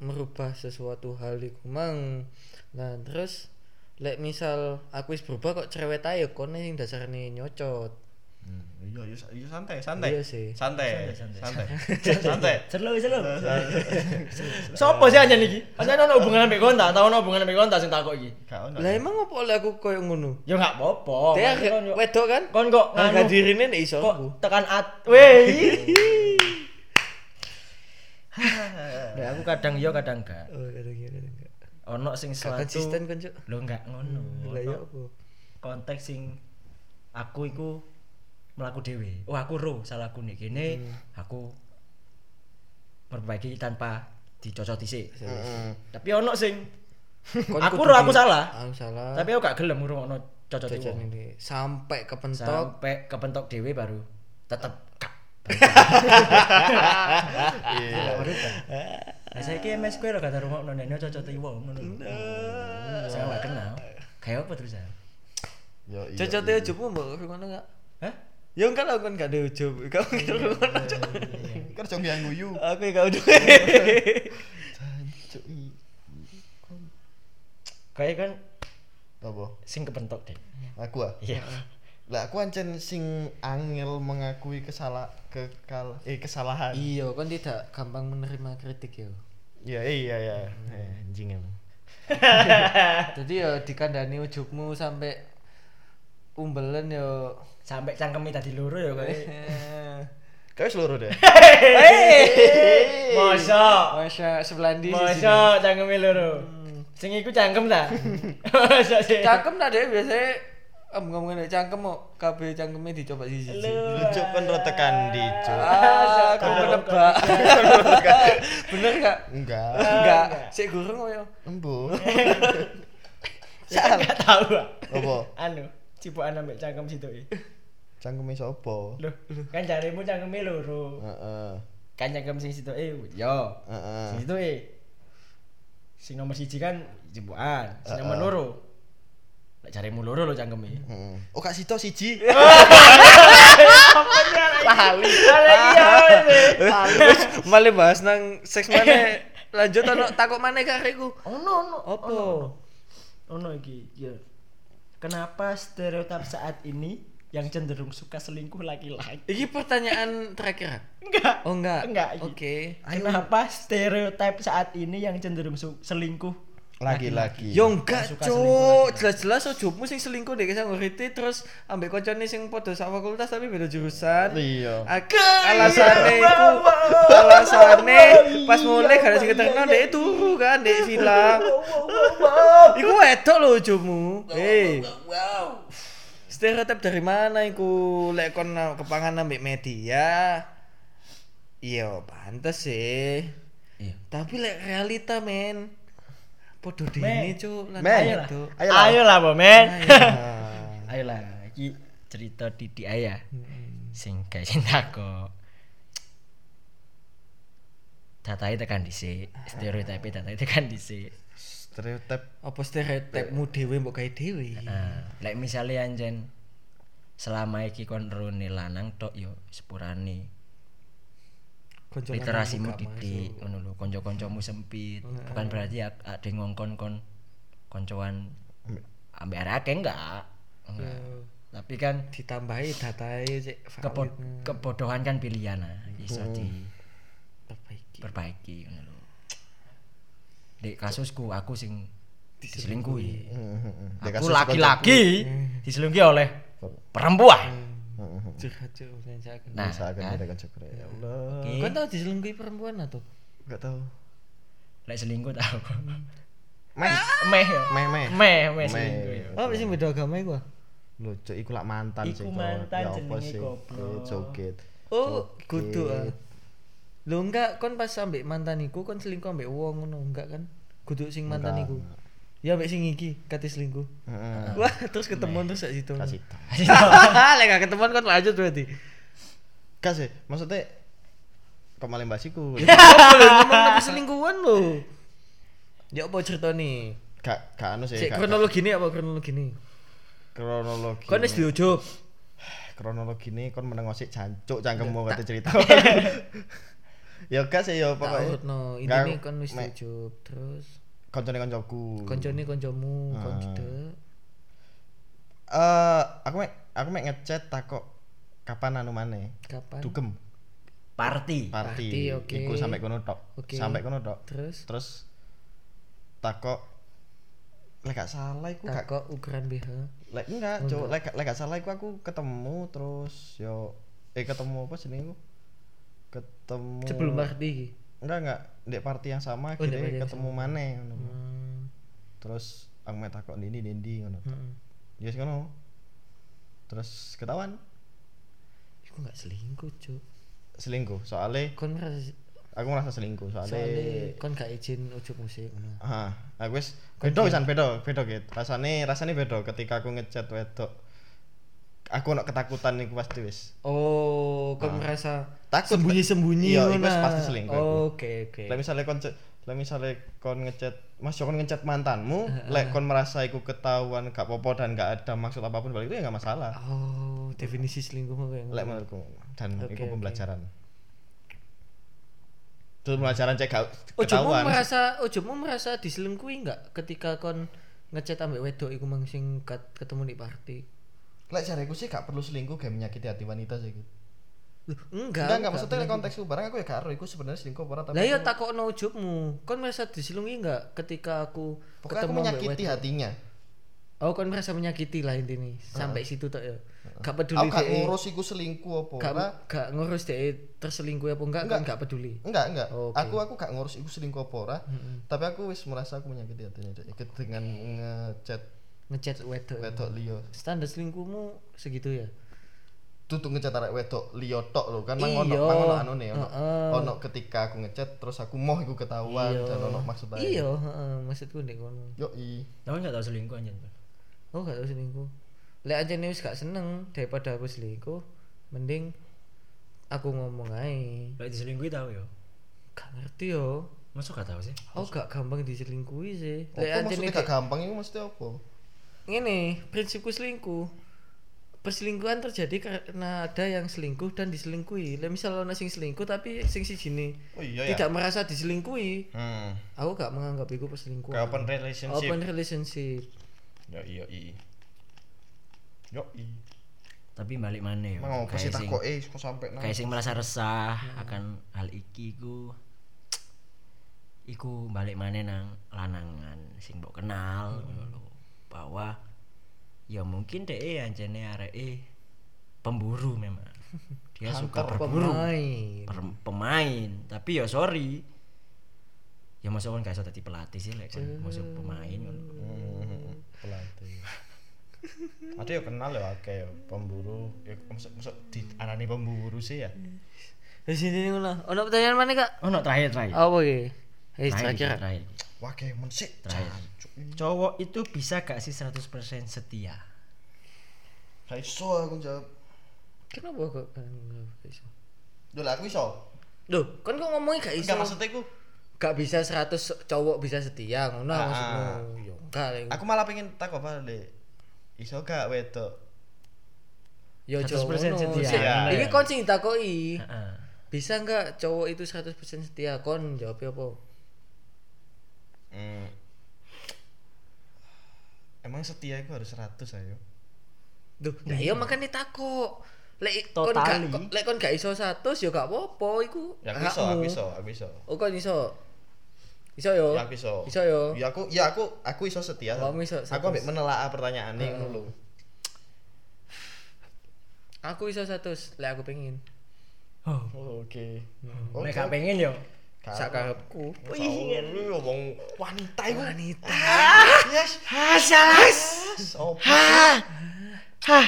Speaker 3: merubah sesuatu hal iku mang nah terus lek misal aku wis berubah kok cerewet ae kon sing dasarne nyocot
Speaker 1: Hmm, Iya, iya, iya santai, santai.
Speaker 3: Iya sih.
Speaker 1: Santai.
Speaker 4: Santai,
Speaker 1: Santai. Santai.
Speaker 4: Selo, selo.
Speaker 2: Sopo sih anjane iki? Anjane ono hubungan ambek kontak, tau ono hubungan ambek kontak sing takok iki.
Speaker 1: Gak ono.
Speaker 3: Lah emang apa oleh aku koyo ngono?
Speaker 2: Ya enggak apa-apa.
Speaker 3: Dia
Speaker 2: Maksudnya kon yo-
Speaker 3: wedok kan?
Speaker 2: Kon kok
Speaker 3: Harga
Speaker 2: nganu-
Speaker 3: dirine nek iso
Speaker 2: kok
Speaker 3: aku.
Speaker 2: tekan at. Weh.
Speaker 4: Nek aku kadang yo kadang gak.
Speaker 3: Oh, kata kira enggak.
Speaker 4: Ono sing
Speaker 3: Gak
Speaker 4: suatu
Speaker 3: konsisten kan, Cuk.
Speaker 4: Lo gak ngono.
Speaker 3: Lah ya
Speaker 4: Ono
Speaker 3: apa?
Speaker 4: konteks sing aku iku melaku dhewe. Oh, aku ro salahku nih gini. Aku perbaiki tanpa dicocok dhisik.
Speaker 3: Heeh.
Speaker 4: Tapi ono sing
Speaker 3: Kon
Speaker 4: aku
Speaker 3: kudu
Speaker 4: ro
Speaker 3: di- Ah.
Speaker 4: aku salah.
Speaker 3: Aku salah.
Speaker 4: Tapi aku gak gelem ngrungokno cocok dhewe.
Speaker 3: jajan ini sampai kepentok.
Speaker 4: Sampai kepentok dhewe baru tetep gak
Speaker 1: Iya.
Speaker 4: Lah saiki MS kowe lho kata rungokno nek cocok te wong ngono lho.
Speaker 3: Eh,
Speaker 4: Saya gak kenal. Kayak apa terus saya?
Speaker 1: Yo, iya,
Speaker 3: Cocote
Speaker 1: iya.
Speaker 3: ujubmu mbok kok ngono enggak?
Speaker 4: Hah?
Speaker 3: Ya enggak lah kon gak ada ujub. Kamu kira ngono, Cuk.
Speaker 1: Kerja mbiang guyu.
Speaker 3: Aku ya gak ada.
Speaker 1: Jancuk, i.
Speaker 4: Kayak kan
Speaker 1: Apa?
Speaker 4: sing kepentok deh.
Speaker 1: Aku ah.
Speaker 4: Iya.
Speaker 1: Lah aku ancen sing angel mengakui kesalah kekal eh kesalahan.
Speaker 3: Iya, kon tidak gampang menerima kritik ya.
Speaker 1: Iya, iya, iya. Eh, Anjing emang.
Speaker 3: Jadi ya dikandani ujubmu sampai umbelen ya.
Speaker 4: Sampai cangkemi tadi loro ya kayak.
Speaker 3: Eh.
Speaker 1: Kau seluruh deh.
Speaker 2: Mosok.
Speaker 3: Masya sebelah di sini. Hmm.
Speaker 2: Mosok cangkeme loro. Sing iku cangkem ta? Mosok sih.
Speaker 3: Cangkem lah deh biasanya ngomongin cangkem mau KB cangkemnya dicoba sisi.
Speaker 1: Lucu kan retekan di cuk.
Speaker 3: Ah, aku menebak. Bener gak?
Speaker 1: Enggak.
Speaker 3: Enggak. Sik ya? gurung koyo.
Speaker 1: Embu.
Speaker 2: Enggak tahu. ah.
Speaker 1: Apa?
Speaker 2: Anu, cipukan ambek cangkem situ iki.
Speaker 1: Cangkeme sapa?
Speaker 2: Loh, kan jaremu cangkeme loro.
Speaker 1: Heeh.
Speaker 2: Kan cangkem sing situ eh yo.
Speaker 1: Heeh.
Speaker 2: Sing situ eh. Sing nomor siji kan cipukan, sing
Speaker 1: Ah.
Speaker 2: nomor loro. Lek jaremu loro lo cangkeme.
Speaker 1: Heeh. Oh, Kak Sito siji.
Speaker 3: Lali. Wis malah bahas nang seks mana lanjut ono takut mana kareku.
Speaker 2: Ono ono
Speaker 3: Apa?
Speaker 2: ono, Ono Ono iki ya. Kenapa stereotip saat ini yang cenderung suka selingkuh laki-laki?
Speaker 3: Iki pertanyaan terakhir. ah?
Speaker 2: Enggak.
Speaker 3: Oh enggak.
Speaker 2: Enggak, iya.
Speaker 3: Oke.
Speaker 2: Kenapa stereotip saat ini yang cenderung su- selingkuh?
Speaker 1: Lagi-lagi.
Speaker 3: Yo enggak,
Speaker 2: Suka
Speaker 3: Cuk. Jelas-jelas ojokmu sing selingkuh dek sang nguriti terus ambek koncone sing padha sak fakultas tapi beda jurusan.
Speaker 1: Iya.
Speaker 3: Ak-
Speaker 2: iya.
Speaker 3: Alasane iku alasane pas mulai gara sing keterno dek turu kan dek villa. Iku wedok lho ojokmu. Eh. Stereotip dari mana iku lek kon na- kepangan ambek media? Iya, pantes sih.
Speaker 4: Iya.
Speaker 3: Tapi lek realita men. Podo
Speaker 2: Men.
Speaker 3: dene cuk lan
Speaker 1: Men.
Speaker 3: ayo Cuk.
Speaker 1: Ayolah.
Speaker 2: Ayolah, Bo, men.
Speaker 1: Nah.
Speaker 4: Ayolah, iki cerita Didi Ayah. Sing kayak cinta kok. Tatai tekan dhisik, stereotipe tatai tekan dhisik.
Speaker 1: Stereotip
Speaker 3: Apa stereotipmu dhewe mbok gawe dhewe?
Speaker 4: Nah, lek misale anjen selama iki kon rone lanang tok yo sepurane.
Speaker 3: Konco lanang
Speaker 4: literasimu
Speaker 3: buka
Speaker 4: didik ngono lho kanca-kancamu sempit bukan berarti ak- ade ngongkon kon koncoan ambek arek akeh enggak enggak tapi kan
Speaker 3: ditambahi datae cek
Speaker 4: kepo-
Speaker 3: nah.
Speaker 4: kebodohan kan pilihan nah iso
Speaker 3: perbaiki.
Speaker 4: diperbaiki ngono lho di kasusku aku sing diselingkuhi
Speaker 1: Dek
Speaker 4: aku
Speaker 1: kasus
Speaker 4: laki-laki diselingkuhi oleh
Speaker 1: Hmm,
Speaker 4: perempuan
Speaker 3: Curhat cuk nyacaken.
Speaker 4: nah
Speaker 1: Usahakan
Speaker 4: kan,
Speaker 1: mereka cokro ya Allah.
Speaker 4: oke.
Speaker 3: Kau tau diselingkuhi perempuan atau?
Speaker 1: Enggak tahu.
Speaker 4: lek selingkuh tau
Speaker 1: Meh,
Speaker 4: meh ya
Speaker 1: meh, meh.
Speaker 4: meh meh
Speaker 1: Meh.
Speaker 4: selingkuh ya.
Speaker 3: Oh, sing beda agama iku. ah?
Speaker 1: Lho, cuk, iku lak mantan
Speaker 2: Iku
Speaker 1: sih, Cuk.
Speaker 2: mantan
Speaker 1: Ya apa
Speaker 2: jenenge
Speaker 1: sih?
Speaker 2: goblok.
Speaker 1: Eh, Joget.
Speaker 3: Oh, kudu ah.
Speaker 1: Joget.
Speaker 3: Lho enggak kon pas ambek mantan iku kon selingkuh ambek wong ngono enggak kan? Kudu sing mantan
Speaker 1: Enggak,
Speaker 3: iku. Ya ambek sing iki kate selingkuh.
Speaker 1: Heeh.
Speaker 3: Wah, terus ketemuan terus sak situ.
Speaker 1: Kak Sito.
Speaker 3: Hahaha, lek gak ketemuan kon lanjut berarti.
Speaker 1: Kak sih, maksudnya kembali basiku.
Speaker 3: Apa lho ngomong tapi selingkuhan lho. Ya apa cerita nih?
Speaker 1: Kak, kak anu sih,
Speaker 3: Cek
Speaker 1: gak-
Speaker 3: kronologi nih apa kronologi nih?
Speaker 1: kronologi.
Speaker 3: Kon wis diujuk.
Speaker 1: kronologi ini kon meneng osik jancuk cangkemmu kate cerita. ya gak sih ya
Speaker 3: Tak
Speaker 1: pokoke.
Speaker 3: urutno.
Speaker 1: Gak-
Speaker 3: Intine kon wis
Speaker 1: mek-
Speaker 3: diujuk terus
Speaker 1: Koncone koncoku.
Speaker 3: koncone koncomu kon
Speaker 1: Uh. Ah.
Speaker 3: tidak.
Speaker 1: Eh, aku mek aku mek ngechat takok kapan anu maneh?
Speaker 3: Kapan?
Speaker 1: Dugem
Speaker 2: Party.
Speaker 1: party.
Speaker 3: Party, oke.
Speaker 1: Iku sampai kono tok.
Speaker 3: Oke.
Speaker 1: Sampai kono tok.
Speaker 3: Terus
Speaker 1: Terus takok lek gak salah iku gak
Speaker 3: kakak ukuran BH.
Speaker 1: lek enggak, cuk, lek lek gak salah iku aku ketemu terus yo eh ketemu apa jenenge iku? Ketemu
Speaker 3: Sebelum party iki.
Speaker 1: enggak enggak di party yang sama
Speaker 3: Oh, ndek
Speaker 1: akhirnya
Speaker 3: party yang
Speaker 1: ketemu maneh ngono.
Speaker 3: Hmm.
Speaker 1: Terus aku main takok Dendi Dendi ngono.
Speaker 3: Heeh.
Speaker 1: Yes ngono. Terus ketahuan
Speaker 3: Iku gak selingkuh, Cuk.
Speaker 1: selingkuh soalnya
Speaker 3: Kon merasa
Speaker 1: aku merasa selingkuh soalnya
Speaker 3: soalnya kon gak izin ujuk musik ngono.
Speaker 1: ah aku wis beda wisan beda beda gitu rasane rasane beda ketika aku ngechat wedok aku nak ketakutan iku pasti wis
Speaker 3: Oh, kon merasa
Speaker 1: Takut,
Speaker 3: sembunyi-sembunyi
Speaker 1: Iya,
Speaker 3: ngono.
Speaker 1: iku pasti selingkuh aku.
Speaker 3: Oke, oke.
Speaker 1: lek misale kon ce- lek misale kon ngechat Mas yo kon ngechat mantanmu lek kon merasa iku ketahuan gak popo dan gak ada maksud apapun balik itu ya gak masalah
Speaker 3: Oh, definisi selingkuh mah kayak
Speaker 1: lek menurutku dan
Speaker 3: Oke,
Speaker 1: iku
Speaker 3: oke.
Speaker 1: pembelajaran itu pembelajaran cek gak
Speaker 3: Ojomu
Speaker 1: ketahuan
Speaker 3: merasa ojomu merasa diselingkuhi enggak ketika kon ngechat ambek wedok iku mang sing kat- ketemu di party?
Speaker 1: lek cariku sih gak perlu selingkuh gak menyakiti hati wanita sih gitu
Speaker 3: Loh, enggak.
Speaker 1: enggak enggak maksudnya lek konteksku barang aku ya gak ero iku sebenarnya selingkuh apa ora tapi
Speaker 3: Lah ya takokno ujubmu. Kon merasa diselingkuhi enggak ketika aku
Speaker 1: pokoknya aku
Speaker 3: ketemu ambek
Speaker 1: menyakiti
Speaker 3: wedok?
Speaker 1: hatinya
Speaker 3: Oh, kon merasa menyakiti lah intinya. Sampai situ tok ya. Gak
Speaker 1: aku
Speaker 3: peduli
Speaker 1: gak
Speaker 3: dhek.
Speaker 1: ngurus iku selingkuh apa
Speaker 3: gak,
Speaker 1: ora
Speaker 3: gak ngurus dhek terselingkuh apa enggak,
Speaker 1: Enggak.
Speaker 3: enggak, enggak peduli.
Speaker 1: enggak enggak
Speaker 3: Oke.
Speaker 1: aku aku gak ngurus iku selingkuh apa ora tapi aku wis merasa aku menyakiti hatinya Dek. Iku dengan ngechat
Speaker 3: Ngechat wedok.
Speaker 1: wedok liya
Speaker 3: Standar selingkuhmu segitu ya.
Speaker 1: tutup ngechat arek wedok liya tok lho kan mang
Speaker 3: Iya.
Speaker 1: ono mang ono anune ono
Speaker 3: Heeh.
Speaker 1: ono ketika aku ngechat terus aku moh iku ketahuan dan ono maksud ae
Speaker 3: Iya, heeh, maksudku ndek ngono.
Speaker 1: yo i
Speaker 2: Tahu enggak tahu selingkuh anjir.
Speaker 3: Oh, gak tau selingkuh. Lek aja wis gak seneng daripada aku selingkuh, mending aku ngomong ae.
Speaker 2: Lek diselingkuhi tahu ya.
Speaker 3: Gak ngerti yo.
Speaker 2: Masuk gak tahu sih?
Speaker 3: Oh, gak gampang diselingkuhi sih.
Speaker 1: Apa
Speaker 3: Lek aja
Speaker 1: maksudnya gak gampang iku mesti apa
Speaker 3: ngene, prinsipku selingkuh. Perselingkuhan terjadi karena ada yang selingkuh dan diselingkuhi. Lek misal ono sing selingkuh tapi sing sijine
Speaker 1: oh iya
Speaker 3: tidak merasa diselingkuhi,
Speaker 1: hmm
Speaker 3: aku gak menganggap itu perselingkuhan.
Speaker 1: open relationship
Speaker 3: Open relationship.
Speaker 1: yo i yo i yo i
Speaker 2: Tapi balik mana ya?
Speaker 1: mau apa sih
Speaker 2: Kayak sing-
Speaker 1: takoke kok sampai nang
Speaker 2: kayak sing merasa resah akan hal iki iku iku balik mana nang lanangan sing mbok kenal ngono lho. bahwa ya mungkin deh anjene arek e pemburu memang dia suka
Speaker 1: Hunter,
Speaker 2: berburu
Speaker 3: Pemain.
Speaker 2: per- pemain tapi ya sorry ya masa kan gak iso dadi pelatih sih lek kon masa pemain ngono lho.
Speaker 1: Hmm, pelatih ada ya kenal ya akeh ya pemburu ya maksud maksud di arane pemburu sih ya
Speaker 3: Wis intine ngono. Ono pertanyaan mana, Kak?
Speaker 2: oh no
Speaker 1: Iya.
Speaker 2: terakhir terakhir
Speaker 3: Apa iki? Wis
Speaker 2: Terakhir,
Speaker 3: terakhir.
Speaker 2: terakhir.
Speaker 1: wakil mensik
Speaker 2: Terakhir.
Speaker 1: jancuk.
Speaker 2: cowok itu bisa gak sih 100% setia
Speaker 1: Gak iso aku jawab
Speaker 3: Kenapa kok kan gak iso?
Speaker 1: Yo lah aku iso.
Speaker 3: Loh, kan kok ngomongnya gak iso.
Speaker 1: Enggak maksudnya aku
Speaker 3: Gak bisa 100 cowok bisa setia ngono
Speaker 1: Ah.
Speaker 3: maksudmu. Yo enggak. Lek.
Speaker 1: aku malah pengen takut apa le. Iso gak wedok?
Speaker 3: Yo
Speaker 2: 100% setia.
Speaker 3: cowok setia.
Speaker 1: Iya,
Speaker 3: Iki
Speaker 1: iya. Ah.
Speaker 3: kon sing ditakoki.
Speaker 2: Heeh.
Speaker 3: Bisa enggak cowok itu 100% setia? Kon jawab ya, apa?
Speaker 1: Hmm. Emang setia aku harus 100 ayo.
Speaker 3: Duh, nah iya makane takok. Lek kon gak
Speaker 2: Totally.
Speaker 3: lek kon gak iso 100 yo gak apa-apa iku.
Speaker 1: Ya aku iso, aku
Speaker 3: hakmu.
Speaker 1: iso, aku iso.
Speaker 3: Oh, kon iso. Iso yo.
Speaker 1: Ya aku iso.
Speaker 3: Oh. Iso yo.
Speaker 1: Ya aku ya aku aku iso setia.
Speaker 3: Oh, kamu iso
Speaker 1: aku
Speaker 3: 100.
Speaker 1: ambek menelaah pertanyaane ngono lho.
Speaker 3: Aku iso 100 lek aku pengen.
Speaker 2: Oh,
Speaker 1: Oh, Oke.
Speaker 2: Nek gak pengen yo.
Speaker 3: Sak karepku.
Speaker 1: Ya, Wih, ngomong wanita iku.
Speaker 3: Wanita.
Speaker 1: Yes.
Speaker 2: Hasas.
Speaker 1: Sopo?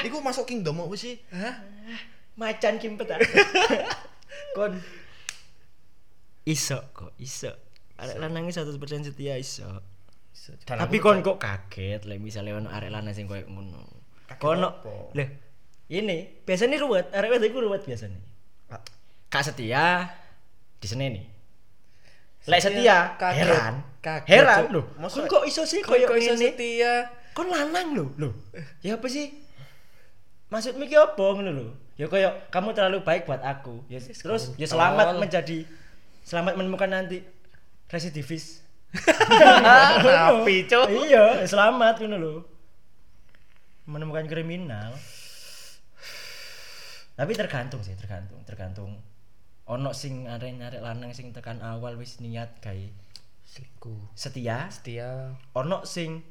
Speaker 1: Iku masuk kingdom apa sih?
Speaker 2: Macan kimpet ah. Kon iso kok, iso. Arek lanang iki 100% setia iso.
Speaker 1: Dan
Speaker 2: Tapi
Speaker 1: aku
Speaker 2: kon kok kaget lek misale ono arek lanang sing koyo ngono.
Speaker 1: Kaget
Speaker 2: Kono.
Speaker 1: apa?
Speaker 2: Lho, ini biasanya ruwet, arek wedok iku ruwet biasanya.
Speaker 1: Ah.
Speaker 2: Kak setia di sini nih. Lek setia,
Speaker 3: kaget,
Speaker 2: heran.
Speaker 3: kaget,
Speaker 2: heran
Speaker 3: Cuk.
Speaker 2: lho. Kon
Speaker 1: Masa-
Speaker 2: kok iso sih
Speaker 3: Kok
Speaker 2: koyo
Speaker 3: kok iso
Speaker 2: ngene?
Speaker 3: setia?
Speaker 2: kon lanang lho lho ya apa sih maksudmu ki apa ngono lho ya kaya kamu terlalu baik buat aku ya terus ya selamat menjadi selamat menemukan nanti residivis
Speaker 3: Rapi, Cuk.
Speaker 2: iya selamat ngono lho menemukan kriminal Tapi tergantung sih, tergantung, tergantung. Ono sing arek-arek lanang sing tekan awal wis niat gawe
Speaker 3: selingkuh
Speaker 2: setia,
Speaker 3: setia
Speaker 2: ono sing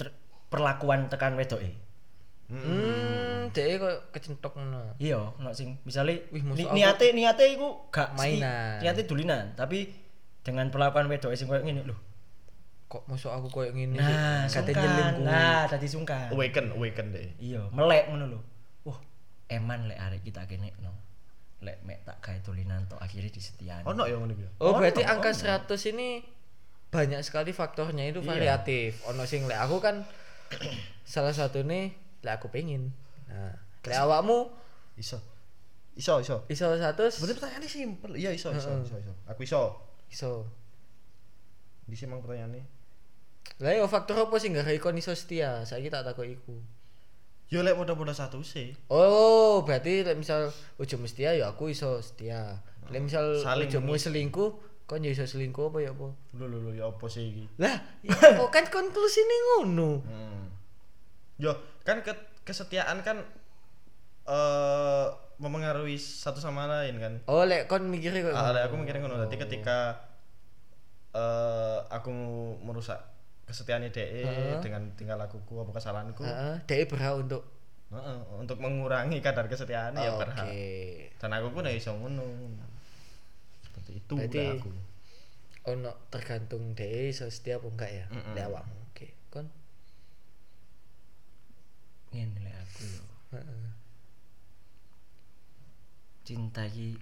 Speaker 2: ter- perlakuan tekan wedoke.
Speaker 3: hmm dia kok kecentok ngono
Speaker 2: Iya, ono sing misale
Speaker 3: Wih,
Speaker 2: ni-
Speaker 3: mosok aku-
Speaker 2: niate niate iku gak seti-
Speaker 3: Mainan.
Speaker 2: Niate dulinan, tapi dengan perlakuan wedoke sing koyo ngene lho.
Speaker 3: kok masuk aku koyo ngene
Speaker 2: Nah,
Speaker 3: sih? Kate nyeling
Speaker 2: sungkan.
Speaker 3: kuwi.
Speaker 2: Nah, dadi sungkan.
Speaker 1: awaken awaken deh
Speaker 2: Iya, melek ngono lho. Wah, eman lek arek kita kene no. Lek mek tak gawe dolinan tok akhirnya disetiani.
Speaker 1: ono ya ngono ya
Speaker 3: Oh, berarti angka 100 ini banyak sekali faktornya
Speaker 1: Iya.
Speaker 3: itu variatif. Ono sing lek aku kan salah satu nih lek aku pengen. Nah, lek awakmu
Speaker 1: iso iso iso
Speaker 3: iso 100
Speaker 1: Sebenarnya pertanyaannya simpel. Iya iso iso iso iso. Aku iso.
Speaker 3: iso.
Speaker 1: Di sini emang pertanyaannya.
Speaker 3: Lah yo faktor apa sih gak ikon iso setia? Saiki tak takok iku.
Speaker 1: Yo lek podo-podo satu sih.
Speaker 3: Oh, berarti lek misal ujung setia yo aku iso setia. Lek misal
Speaker 1: Saling
Speaker 3: ujungmu selingkuh, kon yo iso selingkuh apa ya apa?
Speaker 1: Lho lho lho ya apa sih iki?
Speaker 3: Lah, ya apa kan konklusine ngono.
Speaker 1: Hmm. Yo kan ke- kesetiaan kan eh mempengaruhi satu sama lain kan.
Speaker 3: Oh, lek kon mikirnya kok.
Speaker 1: Ah, lek aku mikirnya ngono. Dadi ketika eh aku merusak kesetiaannya DE dengan tinggal lakuku apa kesalahanku.
Speaker 3: Heeh, dia berhak untuk
Speaker 1: Heeh, untuk mengurangi kadar kesetiaannya ya
Speaker 3: Oh,
Speaker 1: berhak.
Speaker 3: Oke.
Speaker 1: Dan aku pun ya iso ngono. Seperti itu
Speaker 3: Berarti-
Speaker 1: lek aku.
Speaker 3: Ono tergantung dia iso setia apa enggak ya. Lek awakmu. Oke, kon.
Speaker 2: ngene lek aku yo. Cinta iki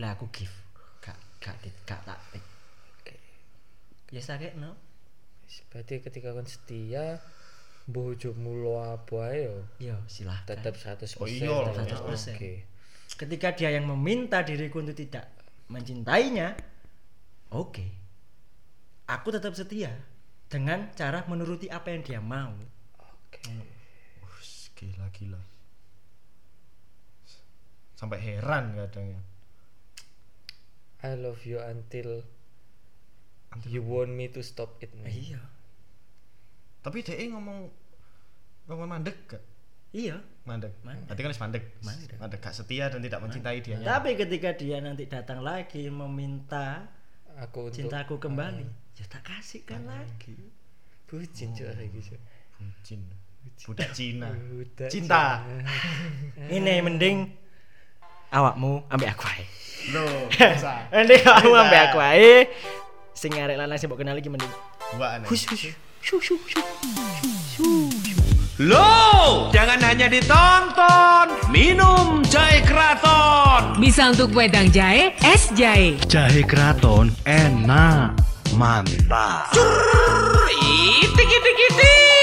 Speaker 2: lek aku give. Gak gak dit gak tak tik. Ya sakit no.
Speaker 3: Wis, Berarti ketika kon setia mbuh ujungmu lo apa ae yo
Speaker 2: Yo, silahkan.
Speaker 3: tetap 100%
Speaker 1: Oh, iya lah,
Speaker 3: tetap
Speaker 1: iya.
Speaker 3: 100%. Oke.
Speaker 2: Ketika dia yang meminta diriku untuk tidak mencintainya, oke. Aku tetap setia dengan cara menuruti apa yang dia mau.
Speaker 3: Oke.
Speaker 1: Wus, gila gila sampai heran kadang ya
Speaker 3: I love you until you want me to stop it man.
Speaker 2: Iya.
Speaker 1: tapi dia ngomong ngomong mandek gak
Speaker 2: Iya.
Speaker 1: mandek
Speaker 2: Mandek.
Speaker 1: berarti kan harus mandek mandek, gak setia dan tidak mencintai dia
Speaker 2: Tapi ketika dia nanti datang lagi meminta
Speaker 3: Aku untuk
Speaker 2: cintaku kembali, ya tak kasihkan lagi. Hmm.
Speaker 3: bucin cuy lagi cuy.
Speaker 1: bucin budak Cina
Speaker 3: Budak
Speaker 1: cinta
Speaker 2: Ini mending awakmu ambek aku ae.
Speaker 1: lo bisa
Speaker 2: Mending awakmu ambek aku ae. Sing arek lanang sing mbok kenal iki mending
Speaker 1: gua aneh
Speaker 5: Low, jangan hanya ditonton, minum jahe keraton.
Speaker 6: Bisa untuk wedang jahe, es jahe.
Speaker 5: Jahe keraton enak, mantap. Itik itik itik.